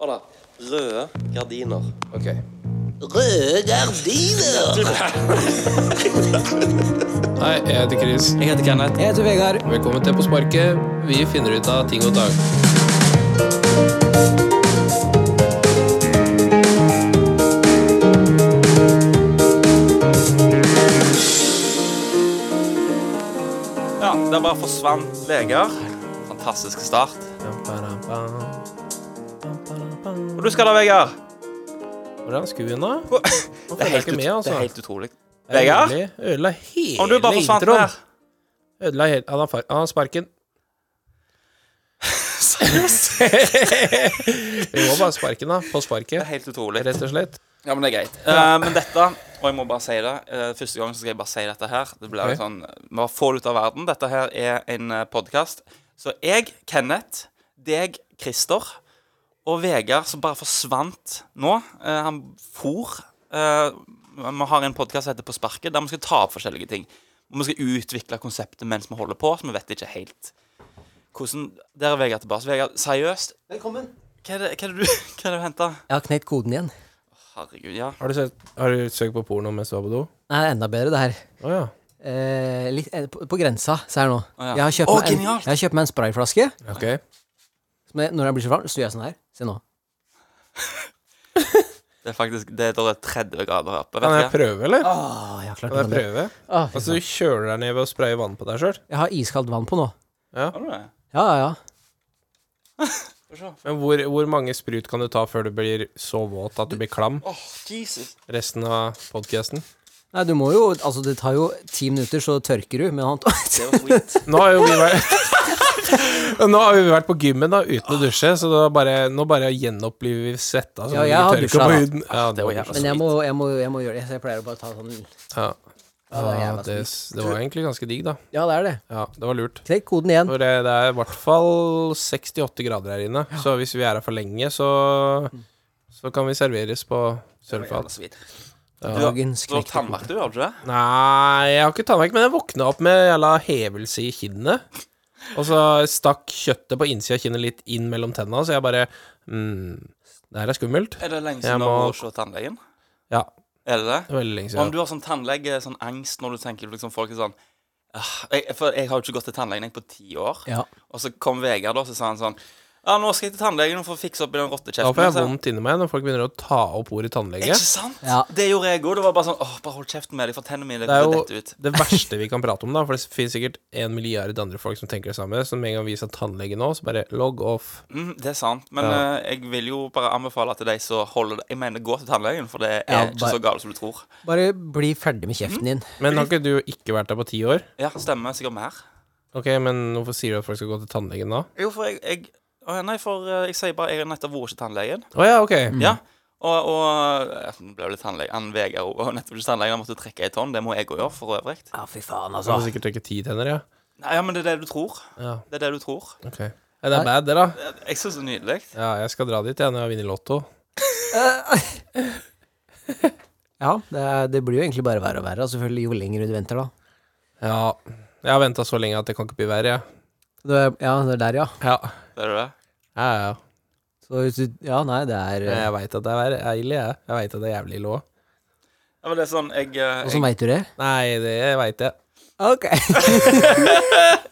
Hør da. Røde gardiner. Ok. Røde gardiner! Hei, jeg heter Chris. Jeg heter Kenneth. Jeg heter Vegard. Velkommen til På sparket. Vi finner ut av ting og tang. Ja, der bare forsvant leger. Fantastisk start. Og du skal da, Vegard? Hvordan skulle vi nå? Hvor- Nå følger jeg ikke med, ut- det altså. er helt utrolig. Jeg Vegard? ødela- Ødela hele Om du bare forsvant introen. der. Ødela hele Han har far- han har sparken. Seriøst? Vi må bare sparken, da. På Det er sparket, helt utrolig. rett og slett. Ja, men det er greit. Eh, men dette, og jeg må bare si det eh, Første gang så skal jeg bare si dette her. Det blir Ok. jo sånn Vi må få det ut av verden. Dette her er en podkast. Så jeg, Kenneth, deg, Christer, og Vegard, som bare forsvant nå eh, Han for. eh, Vi har en podkast som heter På sparket, der vi skal ta opp forskjellige ting. Og vi skal utvikle konseptet mens vi holder på, så vi vet ikke helt hvordan Der er Vegard tilbake. Så Vegard, seriøst, Velkommen. hva er det, hva er det du, hva er det du henter? Jeg har knekt koden igjen. Herregud, ja. Har du, sett, har du søkt på porno mens du var på do? Nei, det er enda bedre, det her. Å ja. Eh, litt, eh, på, på grensa, se her nå. Å, ja. Jeg har kjøpt Å, meg en, genialt! jeg har kjøpt meg en sprayflaske. Ok. Som jeg, når jeg blir så varm, så gjør jeg sånn her. Se nå. Det er faktisk det er da 30 grader her oppe. Kan jeg Vet du? prøve, eller? Åh, jeg har klart Kan jeg det. prøve? Åh, fy Altså, du faen. kjøler deg ned ved å spraye vann på deg sjøl? Jeg har iskaldt vann på nå. Har du det? Ja, ja, ja. Få se. Men hvor, hvor mange sprut kan du ta før du blir så våt at du blir klam Åh, Jesus. resten av podkasten? Nei, du må jo Altså, det tar jo ti minutter, så tørker du, men han Det var sweet. Nå har jo vi vært Nå har vi vært på gymmen da, uten å dusje, så da bare, nå bare gjenoppliver vi svetta. Ja, jeg har dusja, da. Ja, det var jævla jævla Men jeg må, jeg, må, jeg må gjøre det, så jeg pleier å bare ta sånn ja. Ja, det er Ja, jævla det, det var egentlig ganske digg, da. Ja, det er det. Ja, Det var lurt. Knekk koden igjen. For eh, det, det er i hvert fall 68 grader her inne, så hvis vi er her for lenge, så, så kan vi serveres på Jævla Sølvfat. sweet. Dagens Du har knekte kode. tannverk, du, har du ikke det? Nei, jeg har ikke tannverk, men jeg våkna opp med jævla hevelse i kinnet. Og så stakk kjøttet på innsida av kinnet litt inn mellom tenna, så jeg bare mm, Det her er skummelt. Er det lenge Jeg siden du må- har vært hos tannlegen? Ja, Er det det? det er veldig lenge Og Om siden. du har sånn tannlege, sånn angst når du tenker liksom folk er sånn «Ah, jeg, For jeg har jo ikke gått til tannlegen jeg, på ti år. Ja. Og så kom Vegard, da, så sa han sånn Ja, nå skal jeg til tannlegen for å fikse opp i den Da får jeg rottekjeften. min», sa han. vondt inni meg når folk begynner å ta opp ordet tannlege. Ikke sant? Ja. Det gjorde jeg òg. Det var bare sånn åh, bare hold kjeften med deg, for tennene mine Det er vil jo dette ut. det verste vi kan prate om, da, for det finnes sikkert en milliard andre folk som tenker det samme. Så med en gang vi sa tannlege nå, så bare log off. Mm, det er sant, men Ja. eh, jeg vil jo bare anbefale til de som holder det Jeg mener, gå til tannlegen, for det er Ja, ikke bare- så galt som du tror. Bare bli ferdig med Mhm. kjeften din. Men har ikke du ikke vært der på ti år? Ja, stemmer. Sikkert mer. Ok, men hvorfor sier du at folk skal gå til tannlegen da? Jo, for jeg, jeg å, ja, Nei, for eh, jeg sier bare jeg har nettopp vært hos tannlegen. Å ja, ok. Ja. Og, og eh, Nå ble det litt tannlege. Han Vegard og- og nettopp hos tannlegen han måtte trekke ei tonn. Det må jeg òg gjøre, for øvrig. Ja, fy faen, Du altså. Ah. har sikkert ikke ti tenner, ja. Nei, ja, men det er det du tror. Ja, Det er det du tror. ok. Ja, det er bad, det, da. Jeg- Jeg syns det er nydelig. Ja, jeg skal dra dit, jeg, når jeg vinner Lotto. Ja, det, er, det blir jo egentlig bare verre og verre, og selvfølgelig jo lenger du venter, da. Ja. Jeg har venta så lenge at det kan ikke bli verre, jeg. Det er, ja, det er der, ja. Ja. Det er det. Ja, ja. Så hvis du Ja, nei, det er eh, Jeg veit at det er verre. Jeg er ille, jeg. Jeg veit at det er jævlig ille òg. Ja, men det er sånn, jeg, eh, jeg Åssen veit du det? Nei, det veit jeg. Ok.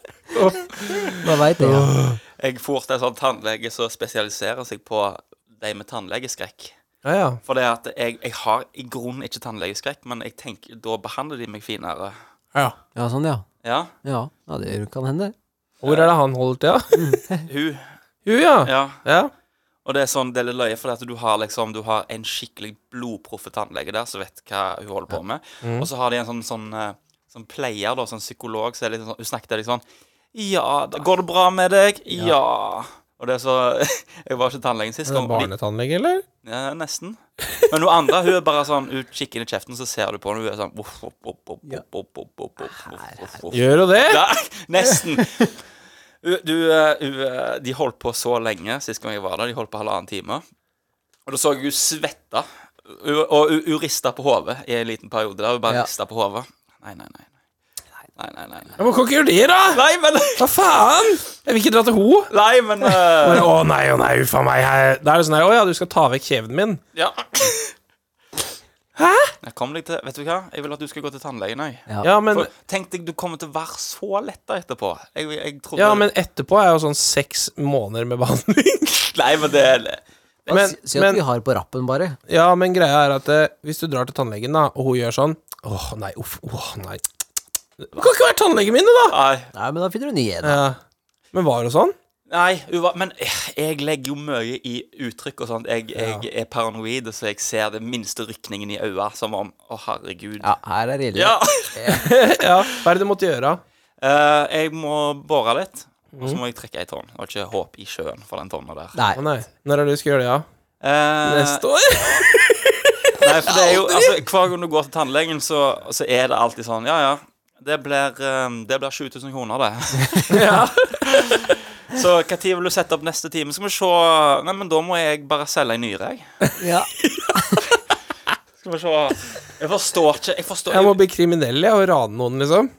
Hva veit jeg? Ja. Jeg for til en sånn tannlege som spesialiserer seg på de med tannlegeskrekk. Ja, ja. For det at jeg, jeg har i grunnen ikke tannlegeskrekk, men jeg tenker, da behandler de meg finere. ja. ja, sånn, ja. Ja, Ja, ja det kan hende. Hvor er det han holder til, da? hun. Jo, ja. Ja. ja. Og det er sånn det er litt løye, for at du har liksom Du har en skikkelig blodproffe tannlege der som vet hva hun holder på med. Og så har de en sånn, sånn, eh, sånn pleier, da, sånn psykolog, som så er litt sånn Hun snakker til deg sånn Ja, da går det bra med deg? Ja. Og det er så Jeg var ikke tannlegen sist Er det gang. og de- barnetannlege, eller? Ja, nesten. Men hun andre hun er bare sånn Hun kikker inn i kjeften, så ser du på henne, og hun er sånn voff, voff, voff, voff, Ja. voff, voff, voff, voff, voff, voff, voff. Gjør jo det! Nei, nesten. Du, du, eh, hun, eh, de holdt på så lenge sist gang jeg var der. De holdt på halvannen time. Og da så jeg hun svetta. Hun- Og hun, hun rista på hodet i en liten periode. der Hun bare Ja. rista på hodet. Nei, nei, nei. nei. Nei, nei, nei. nei. Ja, men kan ikke gjøre det, da! Nei, men Hva faen? Jeg vil ikke dra til ho. Nei, men eh, Bare, å nei, å nei, uff a meg. her- Da er det sånn her, å ja, du skal ta vekk kjeven min. Ja. Jeg kom deg til, vet du hva? Jeg vil at du skal gå til tannlegen. Jeg. Ja. Ja, men, For, tenk deg, du kommer til å være så letta etterpå. Jeg, jeg trodde ja, men etterpå er jo sånn seks måneder med behandling. Nei, men det Men, Men, si at men, vi har på rappen, bare. ja, men greia er at eh, hvis du drar til tannlegen, da, og hun gjør sånn Åh, nei, uff, åh, nei. Du kan ikke være tannlegen min, da! Nei. Nei, men da finner du nye en. Ja. Men var det sånn? Nei uva, men eh, jeg legger jo mye i uttrykk og sånt. Jeg, jeg er paranoid, så jeg ser den minste rykningen i øya som om Å, herregud. Ja, her er det ille. Ja. ja, hva er det du måtte gjøre? Eh, jeg må bore litt, og Mhm. så må jeg trekke ei tårn. Og ikke håp i sjøen for den tårna der. Nei. Å nei, Når er det du skal gjøre det, ja? Eh, Neste år? Nei, for det er jo, altså, Hver gang du går til tannlegen, så, så er det alltid sånn Ja, ja. Det blir, um, det blir 7000 kroner, det. Ja. Så hva tid vil du sette opp neste time? Skal vi se Nei, men da må jeg bare selge en nyre, jeg. Ja. Skal vi se Jeg forstår ikke Jeg forstår Jeg må bli kriminell jeg, og rane noen, liksom.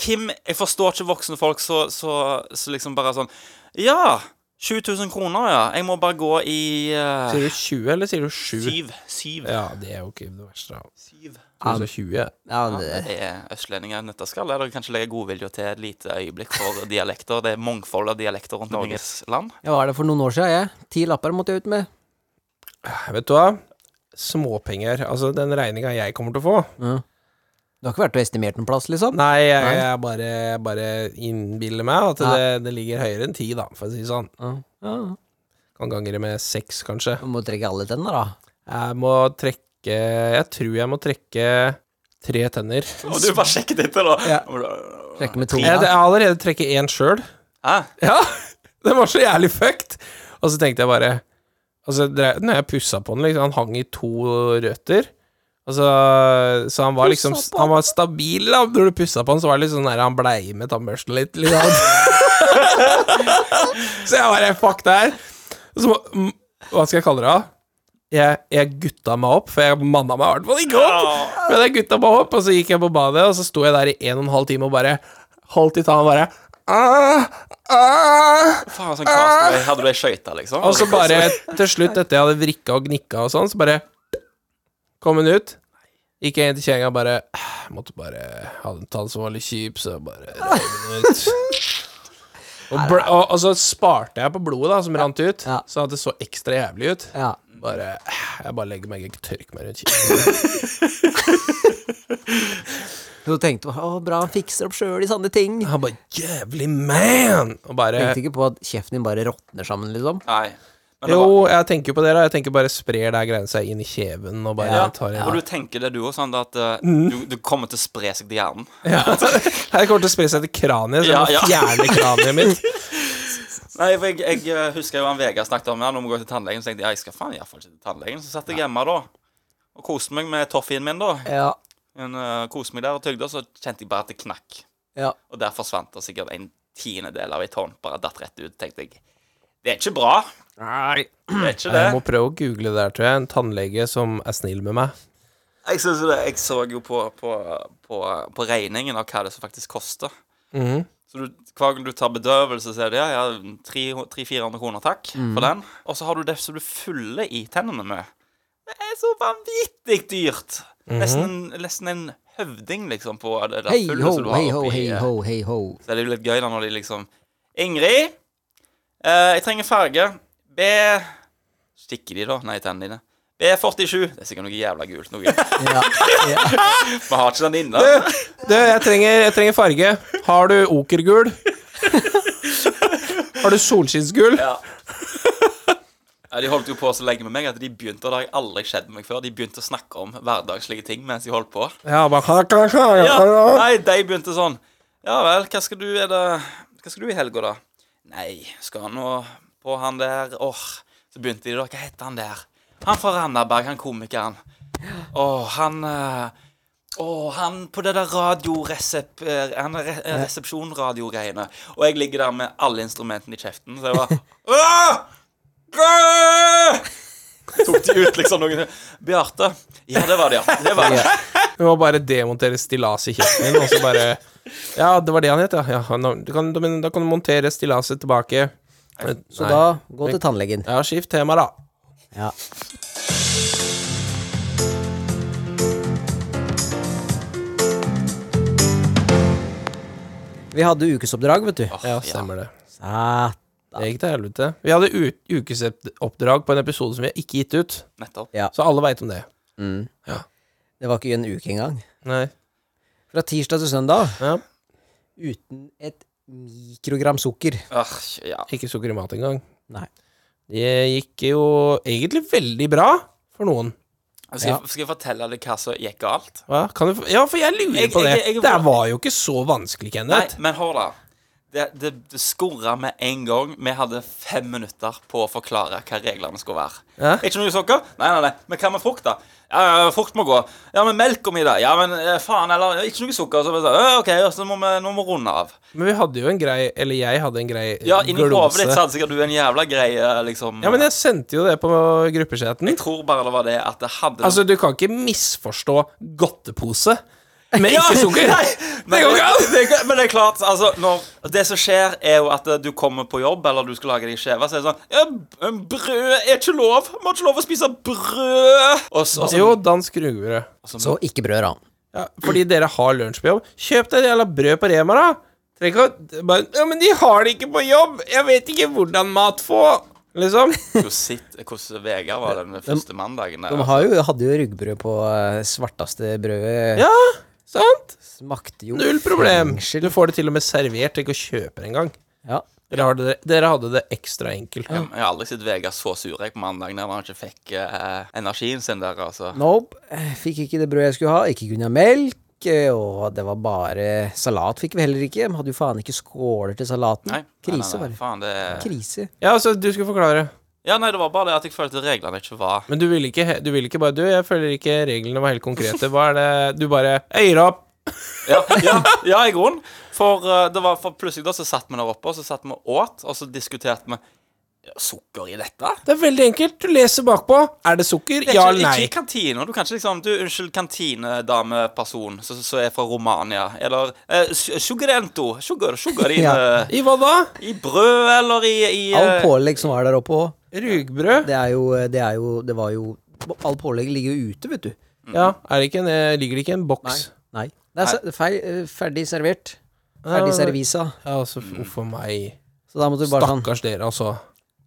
Kim, jeg forstår ikke voksne folk så, så, så liksom bare sånn Ja! 7000 kroner, ja. Jeg må bare gå i eh, Sier du 20, eller sier du 7? Syv. Syv. Ja, det er jo ikke det verste. da. syv. Altså 20. ja Ja, det, det er østlendinger i nøtteskall. Dere kan ikke legge godvilje til et lite øyeblikk for dialekter. Det er mangfold av dialekter rundt Norges land. jeg var der for noen år siden, jeg. Ti lapper måtte jeg ut med. Vet du hva? Småpenger. Altså, den regninga jeg kommer til å få Du har ikke vært og estimert noen plass, liksom? Nei, jeg, jeg bare, jeg bare innbiller meg at Ja. det, det ligger høyere enn 10, da, for å si det sånn. Ja. Ja. Kan gange det med 6, kanskje. Du må trekke alle tennene, da. Jeg må trekke Jeg tror jeg må trekke tre tenner. Og du bare sjekker dette, da. Ja. Trekke med to. Jeg, jeg har allerede trekket én sjøl. Hæ? Ja! Den var så jævlig fucked! Og så tenkte jeg bare Altså, når jeg pussa på den, liksom, han hang i to røtter. Altså, så han var liksom Pussa på Han var stabil, da. Når du pussa på han, så var det litt sånn der han blei med tannbørsten litt. Liksom. så jeg bare Fuck det her. Og Så, må- mm, hva skal jeg kalle det, da? Jeg, jeg gutta meg opp, for jeg manna meg i hvert fall ikke opp. Men jeg gutta meg opp, og så gikk jeg på badet, og så sto jeg der i en og en halv time og bare holdt i tanna og bare ah, ah. Faen, sånn castaway. Hadde du ei skøyte, liksom? Og så bare til slutt, etter jeg hadde vrikka og gnikka og sånn, så bare kom hun ut. Gikk jeg inn til kjerringa og bare «Ah, Måtte bare Hadde en tann som var litt kjip, så jeg bare reiv den ut. Og, bl og, og så sparte jeg på blodet da som rant ut, Ja. sånn at det så ekstra jævlig ut. Ja. Bare «Ah, Jeg bare legger meg ikke tørk meg rundt kjeften. Du tenkte å, bra, han fikser opp sjøl i sånne ting. Han bare 'Jævlig man!' Og bare Eh, Tenkte ikke på at kjeften din bare råtner sammen, liksom. Nei. Men det var- Jo, jeg tenker jo på det, da. Jeg tenker bare sprer det her greiene seg inn i kjeven og bare ja. tar Mm. Og en du tenker det, du òg, sånn at eh, du, du kommer til å spre seg til hjernen. ja. Her kommer det til å spre seg til kraniet, så jeg Ja, må ja. fjerne kraniet mitt. Nei, for jeg, jeg eh, husker jo han Vegard snakket om det. Når vi går til tannlegen, så tenkte jeg ja, jeg skal faen iallfall ikke til tannlegen. Så satt jeg hjemme da og koste meg med toffien min, da. Ja. Men, eh, koste meg der og tygde, og så kjente jeg bare at det knakk. Ja. Og der forsvant det sikkert en tiendedel av ei tonn. Bare datt rett ut, tenkte jeg. Det er ikke bra. Nei. Det er ikke det. Jeg må prøve å google det der, tror jeg. En tannlege som er snill med meg. Jeg, synes jo det. jeg så jo på, på, på, på regningen av hva det som faktisk koster. Mhm. Så du, hver gang du tar bedøvelse, så er det ja, ja 300-400 kroner, takk, Mhm. for den. Og så har du det som du fyller i tennene med. Det er så vanvittig dyrt. Nesten, nesten en høvding, liksom, på det der Mhm. Hei fullet ho, som du har hei ho, oppi hei eh, ho, hei ho. Så det er jo litt gøy da når de liksom Ingrid, eh, jeg trenger farge. B Stikker de, da? Nei, tennene dine. B47. Det er sikkert noe jævla gult. Noe. Vi Ja. ja. har ikke den inne. Du, jeg trenger, jeg trenger farge. Har du okergul? Har du solskinnsgul? Ja. Ja, de holdt jo på så lenge med meg at de begynte og det har jeg aldri skjedd med meg før, de begynte å snakke om hverdagslige ting mens de holdt på. Ja, bare Ja, nei, de begynte sånn. Ja vel, hva skal du, er det, hva skal du i helga, da? Nei, skal han nå på han der Åh, så begynte de da. Hva heter han der? Han fra Randaberg, han komikeren. Åh, han eh, Åh, han på det der radioresep... eh, Han re, eh, resepsjonradiogreiene. Og jeg ligger der med alle instrumentene i kjeften, så jeg bare «Åh! Åh!» Tok de ut liksom noen Bjarte. Ja, det var det, ja. Det var det. Vi må bare demontere stillaset i kjeften din, og så bare Ja, det var det han het, ja. ja han- du kan, men da kan du montere stillaset tilbake. Så da, gå til tannlegen. Ja, skift tema, da. Ja. Vi hadde ukesoppdrag, vet du. Ja, stemmer det. Ah, Det gikk til helvete. Vi hadde u- ukesoppdrag på en episode som vi ikke gitt ut, Nettopp. Ja. så alle veit om det. det var ikke en uke engang. Nei. Fra tirsdag til søndag Ja. uten et mikrogram sukker. Ah, ja. Ikke sukker i mat engang. Nei. Det gikk jo egentlig veldig bra for noen. Skal, jeg, skal jeg fortelle deg hva som gikk galt? Hva? Kan du, f- ja, for jeg lurer Jeg- på det. jeg- jeg- det her var jo ikke så vanskelig, Nei, Kenneth. men hør da. Det, det, det skorra med en gang. Vi hadde fem minutter på å forklare hva reglene skulle være. Ja. Ikke noe sokker? Nei, nei, nei. Men hva med frukt, da? Ja, ja, frukt må gå. Ja, men melk om i det. Ja, men eh, faen, eller ja, ikke noe sukker. Så, bare så, «Øh, OK, og så må vi, nå må vi runde av. Men vi hadde jo en grei Eller jeg hadde en grei Ja, inni hodet ditt glose. så hadde sikkert du en jævla greie, liksom. Ja, men jeg sendte jo det på gruppechatten. Jeg tror bare det var det at det hadde Altså, du kan ikke misforstå godtepose med Ja, ikke sukker. nei, det går ikke an! det går- Men det er klart, altså når, Det som skjer, er jo at eh, du kommer på jobb, eller du skal lage deg skjeve, så er det sånn ja, b- eh, Brød er ikke lov! Må ikke lov å spise brød! Og så, og så, Jo, dansk rugbrød. Altså, Så ikke brød, da. Ja, fordi dere har lunsj på jobb. Kjøp deg jævla brød på Rema, da! Trenger ikke å bare, Ja, men de har det ikke på jobb! Jeg vet ikke hvordan mat få Liksom. Hvordan sitt- hvordan Vegard var den første mandagen De der. har jo, hadde jo rugbrød på eh, svarteste brødet. Ja, sant? Smakte jo Null problem. fengsel. Du får det til og med servert. Trenger ikke å kjøpe det engang. Ja. Dere, har det- dere hadde det ekstra enkelt. Jeg har aldri sett Vegard så sur jeg, på mandagen der han ikke fikk eh, energien sin der, altså. Mm. Nope. Eh, Fikk ikke det brødet jeg skulle ha. Ikke kunne ha melk. eh, Og det var bare Salat fikk vi heller ikke. De Hadde jo faen ikke skåler til salaten. Nei, Krise, nei, nei, nei, bare. faen, det er... Krise. Ja, altså, du skulle forklare. Ja, nei, det var bare det at jeg følte at reglene ikke var Men du ville ikke, he- du ville ikke bare Du, jeg føler ikke reglene var helt konkrete. Hva er det Du bare Jeg gir opp! Ja, ja, ja i grunnen. For, eh, det var, for plutselig da så satt vi der oppe, og så satt vi og åt, og så diskuterte vi «Ja, Sukker i dette? Det er veldig enkelt. Du leser bakpå. Er det sukker? Det er ja ikke, eller nei? Ikke i kantina. Du kan ikke liksom Du, unnskyld, kantinedameperson som som er fra Romania, eller eh, su- Sugarento. Sugar, sugar i, Ja. eh, I hva da? i brød, eller i, i All eh, pålegg som var der oppe òg. Rugbrød? Det er jo Det er jo Det var jo All pålegg ligger jo ute, vet du. Ja. Er det ikke en, eh, ligger det ikke en boks? Nei. Det er se- fei- eh, ferdig servert. Ja, Ferdig men- servisa. Ja, altså, Mm. uff a meg. Så da måtte du bare sånn Stakkars dere, altså.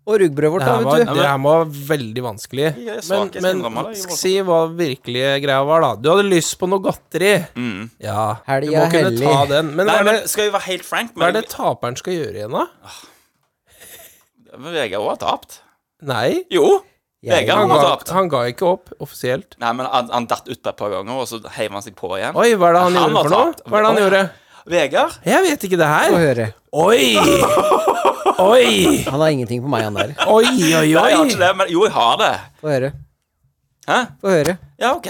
Og rugbrødet vårt, Det her var, da, vet det du. her var veldig vanskelig. Jeg er Men, svak, jeg skal innrømme men det. Jeg må- si hva virkelige greia var, da. Du hadde lyst på noe godteri. Mm. Ja, du Helga må er kunne ta hellig. den. Men Nei, hva er det, men skal jeg være helt frank, hva er men det taperen skal gjøre igjen, da? men Vegard òg har tapt. Nei. Jo. Jeg- Vegard Han har ga, tapt. han ga ikke opp offisielt. Nei, men han, han datt utpå et par ganger, og så heiv han seg på igjen. Oi, hva er det han, Han gjorde har for noe? tapt. Hva er det han Oi. gjorde? Vegard? Jeg vet ikke det her. Få høre. Oi! Oi! Han har ingenting på meg, han der. Oi, oi, Nei, jeg har ikke oi. det, men jo, jeg har det. Få høre. Hæ? Få høre. Ja, OK.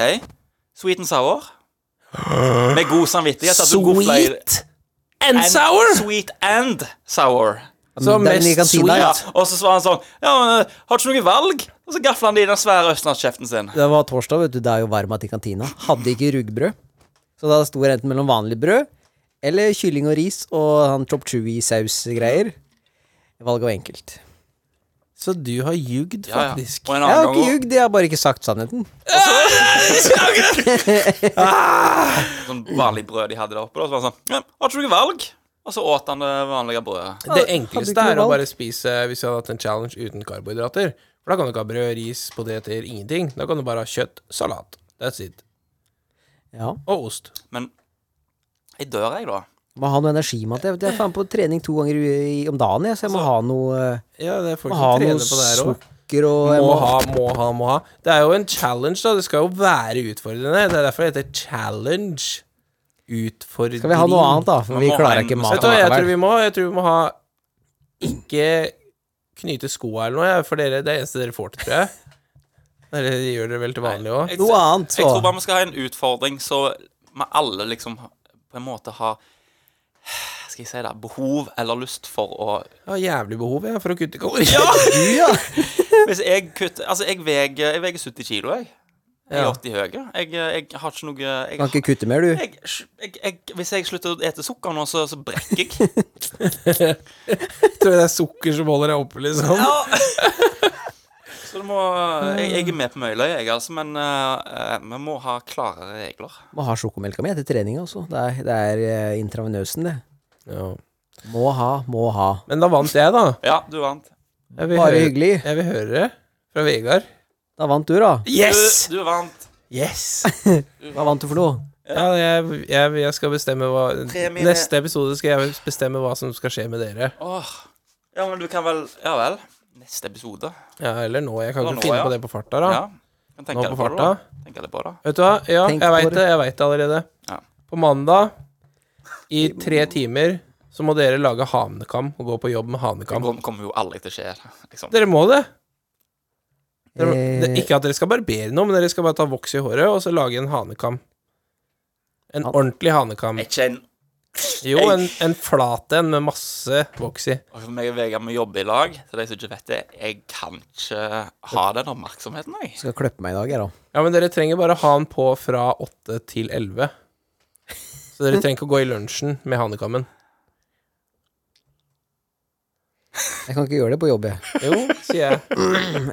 Sweet and sour. Med god samvittighet. at du gofler i- Sweet and sour. Sweet and sour. Så Middagen i mest kantina, sweet. Ja, og så svarer han sånn Ja, men eh, har du ikke noe valg? Og så gafler han det i den svære østlandskjeften sin. Det var torsdag, vet du. Det er jo varmt i kantina. Hadde ikke rugbrød. Så da sto det enten mellom vanlig brød eller kylling og ris og han chop chewy-saus-greier. Valget var enkelt. Så du har ljugd, Ja, ja. faktisk. Og en Jeg har annen ikke gang ljugd, jeg har bare ikke sagt sannheten. også, sånn vanlig brød de hadde der oppe. Og så var han sånn Ja, har ikke noe valg? Og så åt han det vanlige brødet. Det Hadde enkleste ikke er noe å valg. bare spise hvis jeg hadde hatt en challenge uten karbohydrater. For da kan du ikke ha brød, ris, poteter, ingenting. Da kan du bare ha kjøtt, salat. That's it. Ja. Og ost. Men jeg dør, jeg, da. Må ha noe energi med at jeg, vet du, jeg er faen på trening to ganger i, om dagen, jeg, Altså, så jeg må ha noe eh, Ja, det er folk Må ha som noe trener på det her òg. sukker og jeg Må må, ha, må ha, må ha. Det er jo en challenge, da. Det skal jo være utfordrende. Det er derfor det heter challenge. Utfordring. Skal vi ha noe annet, da? For Man vi må ha klarer en- ikke Vet mat Vet du hva jeg tror likevel. vi må? Jeg tror vi må ha Ikke knyte skoa eller noe, jeg, for dere, det er det eneste dere får til, tror jeg. Dere gjør dere vel til vanlig òg. Jeg, Noe annet, Jeg tror så. bare vi skal ha en utfordring så vi alle liksom på en måte har Skal jeg si det behov eller lyst for å Jeg har jævlig behov jeg, for å kutte kalorier. Ja. Hvis jeg kutter Altså, jeg veier, jeg veier 70 kilo, jeg. Jeg Ja. er 80 høy. Jeg, eh, jeg har ikke noe jeg, Kan ikke kutte mer, du. jeg, jeg, jeg, Hvis jeg slutter å ete sukker nå, så, så brekker jeg. Tror du det er sukker som holder deg oppe, liksom? Ja. Så du må jeg, jeg er med på møyla, jeg, altså, men eh, vi må ha klarere regler. Må ha sjokomelka mi etter trening, altså. Det er, det er eh, intravenøsen, det. Ja. Må ha, må ha. Men da vant jeg, da. Ja, du vant. Jeg vil Bare høre- hyggelig. Jeg vil høre det fra Vegard. Da vant du, da. Yes! Du, du vant. Yes! Hva vant du for noe? Ja, jeg, jeg, jeg skal bestemme hva Premie- Neste episode skal jeg bestemme hva som skal skje med dere. Åh. Ja, men du kan vel Ja vel. Neste episode. Ja, Eller nå. Jeg kan Ja, ikke nå, finne ja. på det på farta, da. Ja. Kan tenke Nå litt på på det, farta. da. Tenke litt på det. Vet du hva? Ja, Tenk jeg på veit det. det. Jeg vet det allerede. Ja. På mandag i tre timer så må dere lage hanekam og gå på jobb med Det hanekam. kom- kommer jo aldri til å skje. Liksom. Dere må det. Dere må, Eh. det ikke at dere skal barbere noe, men dere skal bare ta voks i håret og så lage en hanekam. En Han- ordentlig hanekam. Ikke en Jo, en, en flat en med masse voks i. Og for meg og Vegard, vi jobber i lag. Til de som ikke vet det, jeg kan ikke ha den oppmerksomheten, jeg. Skal klippe meg i dag, jeg, da. Ja, men dere trenger bare ha den på fra 8 til 11. Så dere trenger ikke å gå i lunsjen med hanekammen. Jeg kan ikke gjøre det på jobb, jeg. Jo, sier jeg.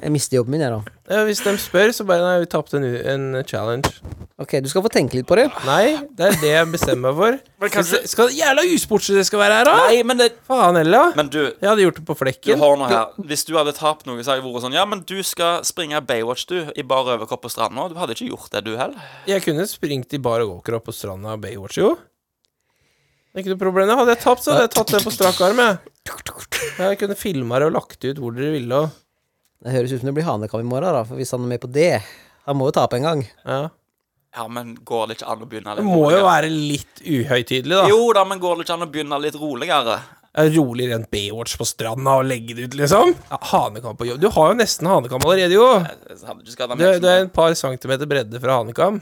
Jeg mister jobben min, jeg, da. Ja, hvis de spør, så bare Nei, vi tapte en, u- en challenge. Ok, du skal få tenke litt på det. Nei, det er det jeg bestemmer meg for. Men kanskje- Skal- Skal jævla usportslig det skal være her, da! Nei, men, det, Faen heller, da. men du, Jeg hadde gjort det på du flekken. har noe her. Hvis du hadde tapt noe, så hadde jeg vært sånn Ja, men du skal springe Baywatch, du, i bar overkropp på stranda. Du hadde ikke gjort det, du heller. Jeg kunne springt i bar og gåkropp på stranda av Baywatch, jo. Det er ikke noe problem. det. Hadde jeg tapt, så hadde jeg tatt det på strak arm, jeg. Jeg kunne filma det og lagt det ut hvor dere ville og Det høres ut som det blir hanekam i morgen, da, for hvis han er med på det Han må jo tape en gang. Ja. Ja, men går det ikke an å begynne Det litt må jo roligere? være litt uhøytidelig, da. Jo da, men går det ikke an å begynne litt roligere? Er det roligere enn Baywatch på stranda og legge det ut, liksom? Ja, hanekam på jobb Du har jo nesten hanekam allerede, jo. Jeg hadde ikke skadet Du, meg. du er en par centimeter bredde fra hanekam.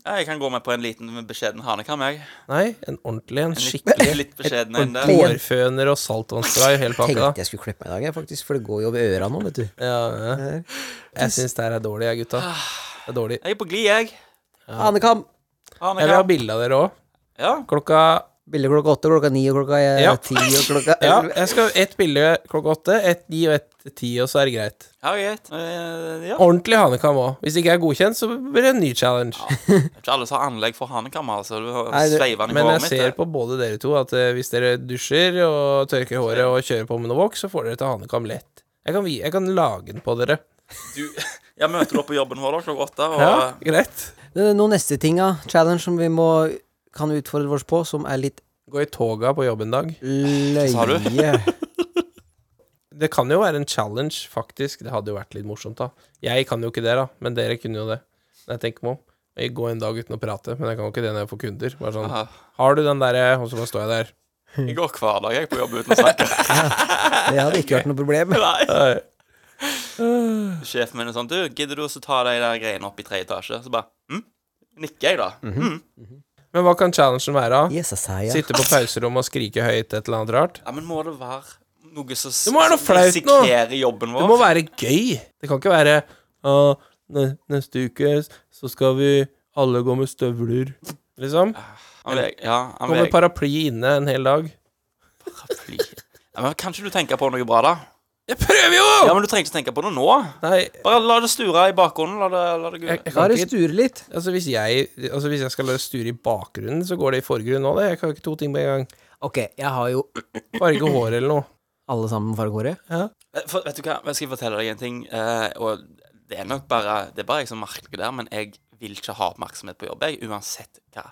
Ja, Jeg kan gå med på en liten beskjeden hanekam, jeg. Nei, en ordentlig en. En Skikkelig. Litt, litt beskjeden en der. ordentlig- Hårføner og saltvannspray, hele pakka. Tenkte jeg skulle klippe meg i dag, jeg, faktisk, for det går jo over øra nå, vet du. Ja, ja. Jeg syns det her er dårlig, jeg, gutta. Det er dårlig. Jeg er på glid, jeg. Hanekam! Jeg vil ha Hanekam. bilde av dere òg. Ja. Klokka Bilde klokka åtte, klokka ni og klokka eh, Ja. ti og klokka Ja, elleve. jeg skal ha ett bilde klokka åtte, ett ni og ett ti, og så er det greit. Ja, greit. Eh, Ja. Ordentlig hanekam òg. Hvis det ikke er godkjent, så blir det en ny challenge. Ikke alle som har anlegg for hanekammer, altså. Du har Nei, det- sveivende Men håret jeg mitt. ser på både dere to at eh, hvis dere dusjer og tørker håret og kjører på med noe voks, så får dere til hanekam lett. Jeg kan, vi- jeg kan lage den på dere. Du, jeg møter deg på jobben vår da, klokka åtte, og Ja, greit. Det er Noen neste ting, da. Challenge som vi må kan utfordre oss på, som er litt Gå i toga på jobb en dag. sa du? løye. Det kan jo være en challenge, faktisk. Det hadde jo vært litt morsomt, da. Jeg kan jo ikke det, da, men dere kunne jo det. Når jeg tenker meg om. Jeg går en dag uten å prate, men jeg kan jo ikke det når jeg får kunder. Bare sånn Aha. Har du den derre Og så bare står jeg der. eh, jeg går hver dag jeg på jobb uten å snakke. Det hadde ikke vært noe problem. Nei. Nei. Sjefen min er sånn Du, gidder du også ta de der greiene opp i tredje etasje? Så bare hm? Nikker jeg, da. Mhm. «Hm?» Men hva kan challengen være? da? Yes, I say, ja. Sitte på pauserommet og skrike høyt et eller annet rart? Ja, men må det være noe som Det må være noe flaut nå. risikerer jobben Det vår? må være gøy. Det kan ikke være «Å, ne- neste uke så skal vi alle gå med støvler, liksom. Han vil, ja, han Gå med vil paraply inne en hel dag. paraply. Ja, men Kanskje du tenker på noe bra, da? Jeg prøver jo! Ja, men Du trenger ikke tenke på det nå. Nei, Bare la det sture i bakgrunnen. La det, la det gå. jeg, jeg kan Bare ikke sture litt. Altså hvis, jeg, altså, hvis jeg skal la det sture i bakgrunnen, så går det i forgrunnen òg, det. Jeg kan jo ikke to ting på en gang. Ok, jeg har jo Farge håret eller noe. alle sammen fargehåret. Eh, For, vet du hva, jeg skal fortelle deg en ting. eh, og det er nok bare Det er bare jeg som merker det der, men jeg vil ikke ha oppmerksomhet på jobb, jeg, uansett hva.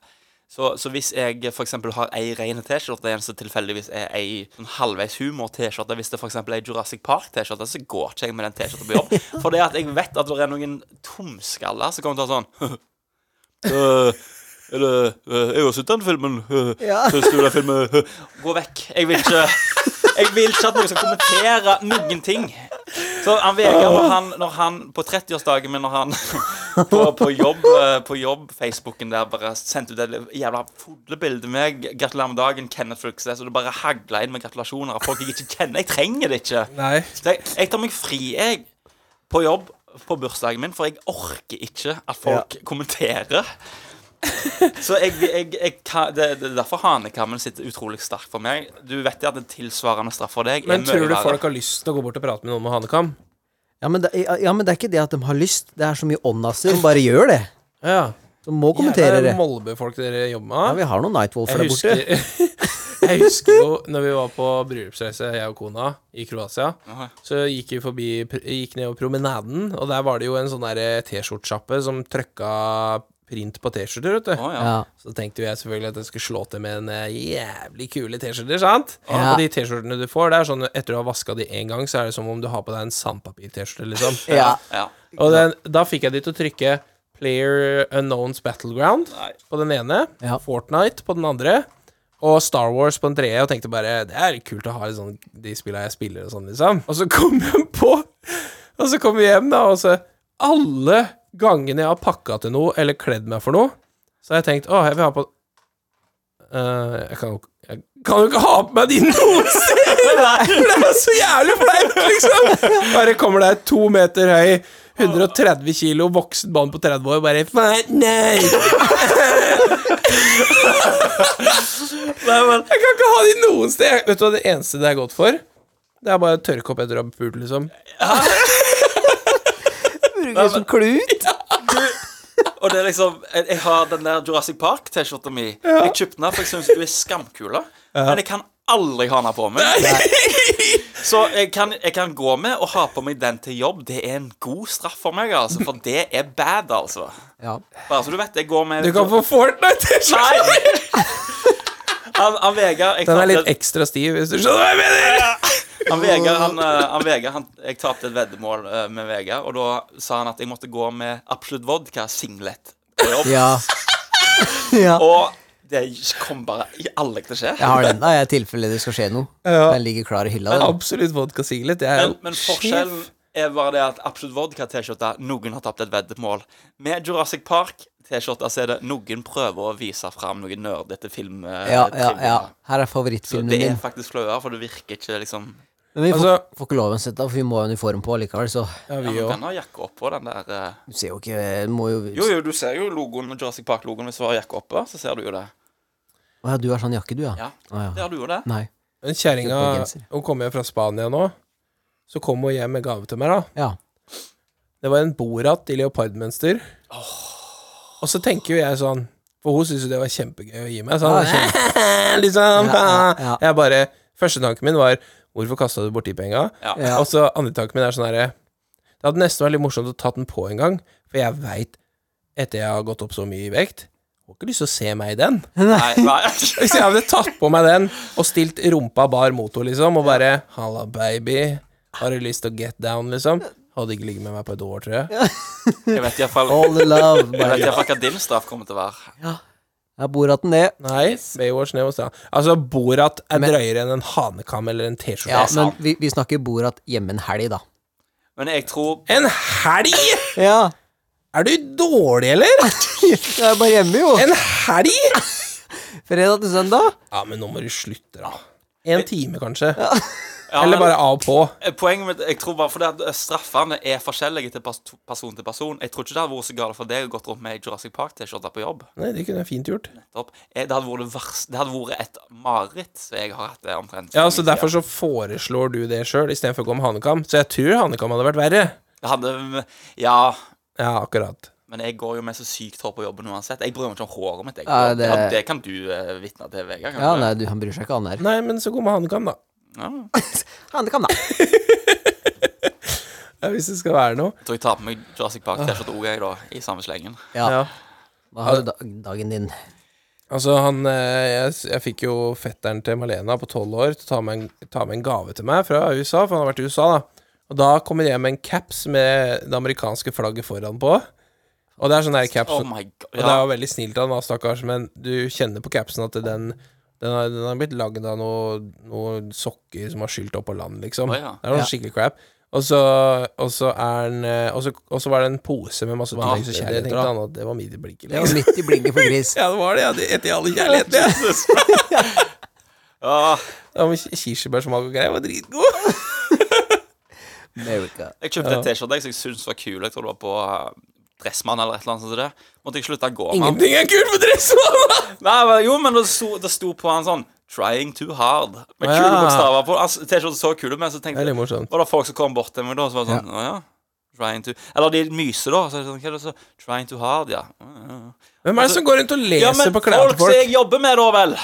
Så, så hvis jeg f.eks. har ei ren T-skjorte, en som tilfeldigvis er ei sånn halvveis humor-T-skjorte, hvis det f.eks. er ei Jurassic Park-T-skjorte, så går ikke jeg med den T-skjorta på jobb. For det at jeg vet at det er noen tomskaller som kommer til å ha sånn «Øh, Er det øh, Jeg har sett den filmen. øh, Ja. Syns du den filmen øh?» Gå vekk. Jeg vil ikke Jeg vil ikke at noen skal kommentere noen ting. Så han Vegard, når han, når han på 30-årsdagen min, når han på, på jobb, eh, på jobb Facebooken der bare sendte ut et jævla fulle bilde med meg. Gratulerer med dagen, Kenneth Fluxes. Og det bare hagla inn med gratulasjoner av folk jeg ikke kjenner. Jeg trenger det ikke. Nei. Så jeg, jeg tar meg fri, jeg, på jobb på bursdagen min, for jeg orker ikke at folk kommenterer. Så jeg, jeg, jeg, ka- det, det er derfor hanekammen sitter utrolig sterkt for meg. Du vet jo at en tilsvarende straff for deg Men er tror du verre. folk har lyst til å gå bort og prate med noen med hanekam? Ja men, det, ja, men det er ikke det at de har lyst. Det er så mye åndaser som bare gjør det. Ja. Som må kommentere Jævla det. Molde-folk dere jobber med. Ja, vi har noen Nightwolfer Jeg der borte. husker, jeg husker jo når vi var på bryllupsreise, jeg og kona, i Kroatia. Aha. Så gikk vi forbi, pr- gikk ned på promenaden, og der var det jo en sånn der T-skjortsjappe som trøkka print på T-skjorter, vet du. Å, ja. Ja. Så tenkte jo jeg selvfølgelig at jeg skulle slå til med en eh, jævlig kule T-skjorter, sant? Ja. Og de T-skjortene du får, det er sånn etter du har vaska de én gang, så er det som om du har på deg en sandpapir-T-skjorte, liksom. Ja. Ja. Og den, da fikk jeg de til å trykke Player Unknowns Battleground Nei. på den ene, Ja. Fortnite på den andre, og Star Wars på den tredje, og tenkte bare det er kult å ha litt sånn, de spilla jeg spiller, og sånn, liksom. Og så kom jeg på Og så kom vi hjem, da, og så Alle gangene jeg har pakka til noe, eller kledd meg for noe, så har jeg tenkt å, jeg vil ha på Eh, jeg, kan jo, jeg kan jo ikke ha på meg de noser! Det er så jævlig flaut, liksom! Bare kommer der to meter høy, 130 kilo, voksen mann på 30 år, bare "Faen, Nei! Jeg kan ikke ha de noen sted! Vet du hva det eneste det er godt for? Det er bare å tørke opp etter å ha pult, liksom. Bruker som klut. Og det er liksom Jeg, jeg har den der Jurassic Park-T-skjorta mi. Jeg kjøpte den her, for jeg syns du er skamkula. Men jeg kan aldri ha den på meg. Så jeg kan, jeg kan gå med og ha på meg den til jobb. Det er en god straff for meg, altså. For det er bad, altså. Ja. Bare så du vet, jeg går med Du kan få Fortnite-T-skjorte! Nei! Han, han Vegard jeg Den er tapte- litt ekstra stiv, hvis du skjønner hva jeg mener! Han Vegard, han, eh, han Vegard han, Jeg tapte et veddemål eh, med Vegard, og da sa han at jeg måtte gå med absolutt vodka singlet på jobb. Ja. ja. Og det kom bare i alle til å skje. Jeg har den da, i tilfelle det skal skje noe. Ja. Den ligger klar i hylla. Den. Absolutt vodka singlet. Jeg er jo Men, men forskjellen er bare det at absolutt vodka-T-skjorte Noen har tapt et veddemål. Med Jurassic Park-T-skjorte så er det noen prøver å vise fram noen nerdete film. eh, Ja, ja, trivia. ja. Her er Så favorittfilmen det min. er faktisk flauere, for det virker ikke liksom Men vi får, Altså- får ikke lov å sette av, for vi må ha uniform på likevel, så Ja, ja, vi men òg. Den har jakke oppå, den der eh. du ser jo ikke må jo, Jo, jo, du ser jo logoen, Jurassic Park-logoen hvis du har jakke oppå, så ser du jo det. Å ja, du har sånn jakke, du, ja? Ja, Å, det ja. har du jo det. Nei. Men kjerringa Kjøper genser. Hun kom hjem fra Spania nå. Så kom hun hjem med gave til meg, da. Ja. Det var en Borat i leopardmønster. Og så tenker jo jeg sånn For hun syntes jo det var kjempegøy å gi meg. Sånn, Ja, liksom. Ja, ja, ja. Jeg bare Første tanken min var Hvorfor kasta du borti penga? Ja. Ja. Og så andre tanken min er sånn herre Det hadde nesten vært litt morsomt å ta den på en gang, for jeg veit, etter jeg har gått opp så mye i vekt Hun har ikke lyst til å se meg i den. Nei, nei. Hvis jeg hadde tatt på meg den og stilt rumpa bar mot henne, liksom, og bare 'Halla, baby. Har du lyst til å get down?' liksom. Hadde ikke ligget med meg på et år, tror jeg. Jeg vet iallfall All the love. Jeg vet Bare. i hvert fall hva din straff kommer til å være. Jeg bor hatten det. Nei, Baywatch ned hos deg. Altså, Borat er Men- drøyere enn en hanekam eller en T-skjorte. Ja, men Altså. vi, vi snakker Borat hjemme en helg, da. Men jeg tror En helg?! Ja. Er du dårlig, eller? Jeg er bare hjemme, jo. En helg?! Fredag til søndag. Ja, men nå må du slutte, da. Eh, En time, kanskje. ja, Eller men bare eh, av og på. Poenget mitt Jeg tror bare fordi at eh, straffene er forskjellige til pers- person til person. Jeg tror ikke det hadde vært så galt for deg å gått rundt med ei Jurassic Park-T-skjorte på jobb. Nei, det kunne jeg fint gjort. Nettopp. Eh, Det hadde vært det verste Det hadde vært et mareritt som jeg har hatt det omtrent. Ja, så Derfor så foreslår du det sjøl, istedenfor å gå med hanekam. Så jeg tror hanekam hadde vært verre. Det hadde Ja. Ja, akkurat. Men jeg går jo med så sykt hår på jobben uansett. Jeg bryr meg ikke om håret mitt. Jeg. Ja, det- det... Ja, det kan du uh, vitne til, Vegard. kan Ja, du? nei, du, han bryr seg ikke, han der. Nei, men så gå med hanekam, da. Ja. Handekam, da. Ja, hvis det skal være noe. Jeg tror jeg tar på meg Jurassic Park-T-skjorte òg, jeg, da. I samme slengen. Ja. Ja. Da har du da, dagen din. Altså, han eh, Jeg, s- jeg fikk jo fetteren til Malena på tolv år til å ta med, en, ta med en gave til meg fra USA, for han har vært i USA, da. Og da kommer jeg med en caps med det amerikanske flagget foran på. Og det er sånn der caps Oh my god. Og det er jo veldig snilt av han, da, stakkars, men du kjenner på capsen at den den har, den har blitt lagd av noen noe sokker som har skylt opp på land, liksom. Å, ja. Det er noe Ja. skikkelig crap. Og så, og så er den eh, Og så, og så var det en pose med masse Ah, anleggs og det- kjærlighet. det- Tenkte han at det var liksom. middelblinken. Det var midt i blinken for gris. Ja, det var det. Ja. Det etter alle kjærlighetene. Ja. Ja, men ki- Kirsebærsmak og greier var dritgod. America. Jeg kjøpte et T-skjorte jeg, som jeg syntes var kul. Jeg tror det var på eh, Dressmann eller et eller annet sånt. som det. Måtte jeg slutte å gå med. den. Ingenting er kult med dressmann! Nei, men, jo, men det sto, det sto på han sånn Trying too hard. Med kule Ja. bokstaver på. Altså, T-skjorten så kul ut, men så tenkte Veldig jeg morsomt. Var det folk som kom bort til meg da, så var det sånn Å ja. Trying to Eller de myser, da. Så er det sånn, hva er det så? Trying too hard, ja. Å, ja. Hvem er det som går rundt og Ja, leser men på klærne til folk Altså, folk? som jeg jobber med, da vel.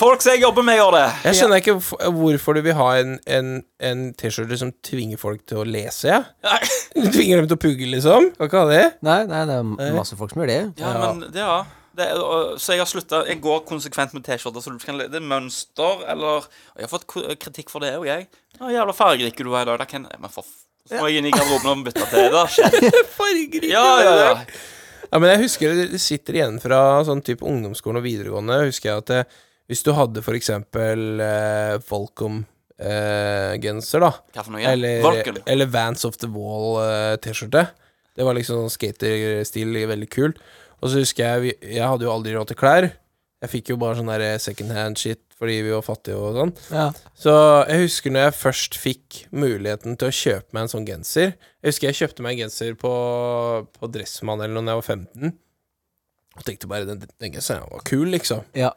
Folk som jeg jobber med, gjør det. Jeg skjønner ikke hvorf- hvorfor du vil ha en, en, en T-skjorte som tvinger folk til å lese. Ja. Nei. Du tvinger dem til å pugge, liksom. Kan ikke ha det. Nei, nei, det er masse folk som gjør det. Ja, men det, ja. Det, er- og, så jeg har slutta Jeg går konsekvent med T-skjorter. Så du kan le- Det er mønster, eller og Jeg har fått ko- kritikk for det òg, jeg. Å, jævla fargerik du er i dag. Da kan jeg Men for f- Så må jeg inn i garderoben og bytte til. Da. Fargerike! Ja, ja, ja. Ja, men jeg husker det- det sitter igjen fra sånn type ungdomsskolen og videregående. Husker jeg at det, hvis du hadde for eksempel eh, Volcom-genser, da, Hva for noe? eller, Volken. eller Vans of the Wall-T-skjorte Det var liksom sånn skaterstil, veldig kul. Og så husker jeg vi- Jeg hadde jo aldri råd til klær. Jeg fikk jo bare sånn der second hand shit fordi vi var fattige og sånn. Ja. Så jeg husker når jeg først fikk muligheten til å kjøpe meg en sånn genser Jeg husker jeg kjøpte meg en genser på, på Dressmann eller noe da jeg var 15. Og tenkte bare den, den genseren var kul, liksom. Ja.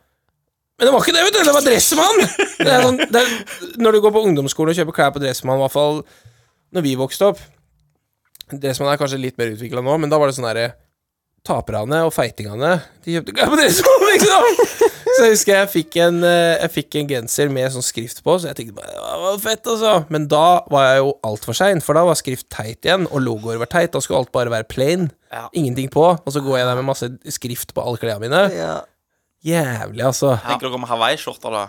Men det var ikke det, vet du! Det var Dressmann! Det er sånn, det er, når du går på ungdomsskolen og kjøper klær på Dressmann, i hvert fall når vi vokste opp Dressmann er kanskje litt mer utvikla nå, men da var det sånn derre Taperne og feitingene, de kjøpte klær på Dressmann, liksom! Så jeg husker jeg fikk en, eh, jeg fikk en genser med sånn skrift på, så jeg tenkte bare det var fett, altså. Men da var jeg jo altfor sein, for da var skrift teit igjen, og logoer var teit. Da skulle alt bare være plain. Ja. Ingenting på. Og så går jeg der med masse skrift på alle klærne mine. Ja. Jævlig, altså. Tenker dere om hawaiiskjorter, da?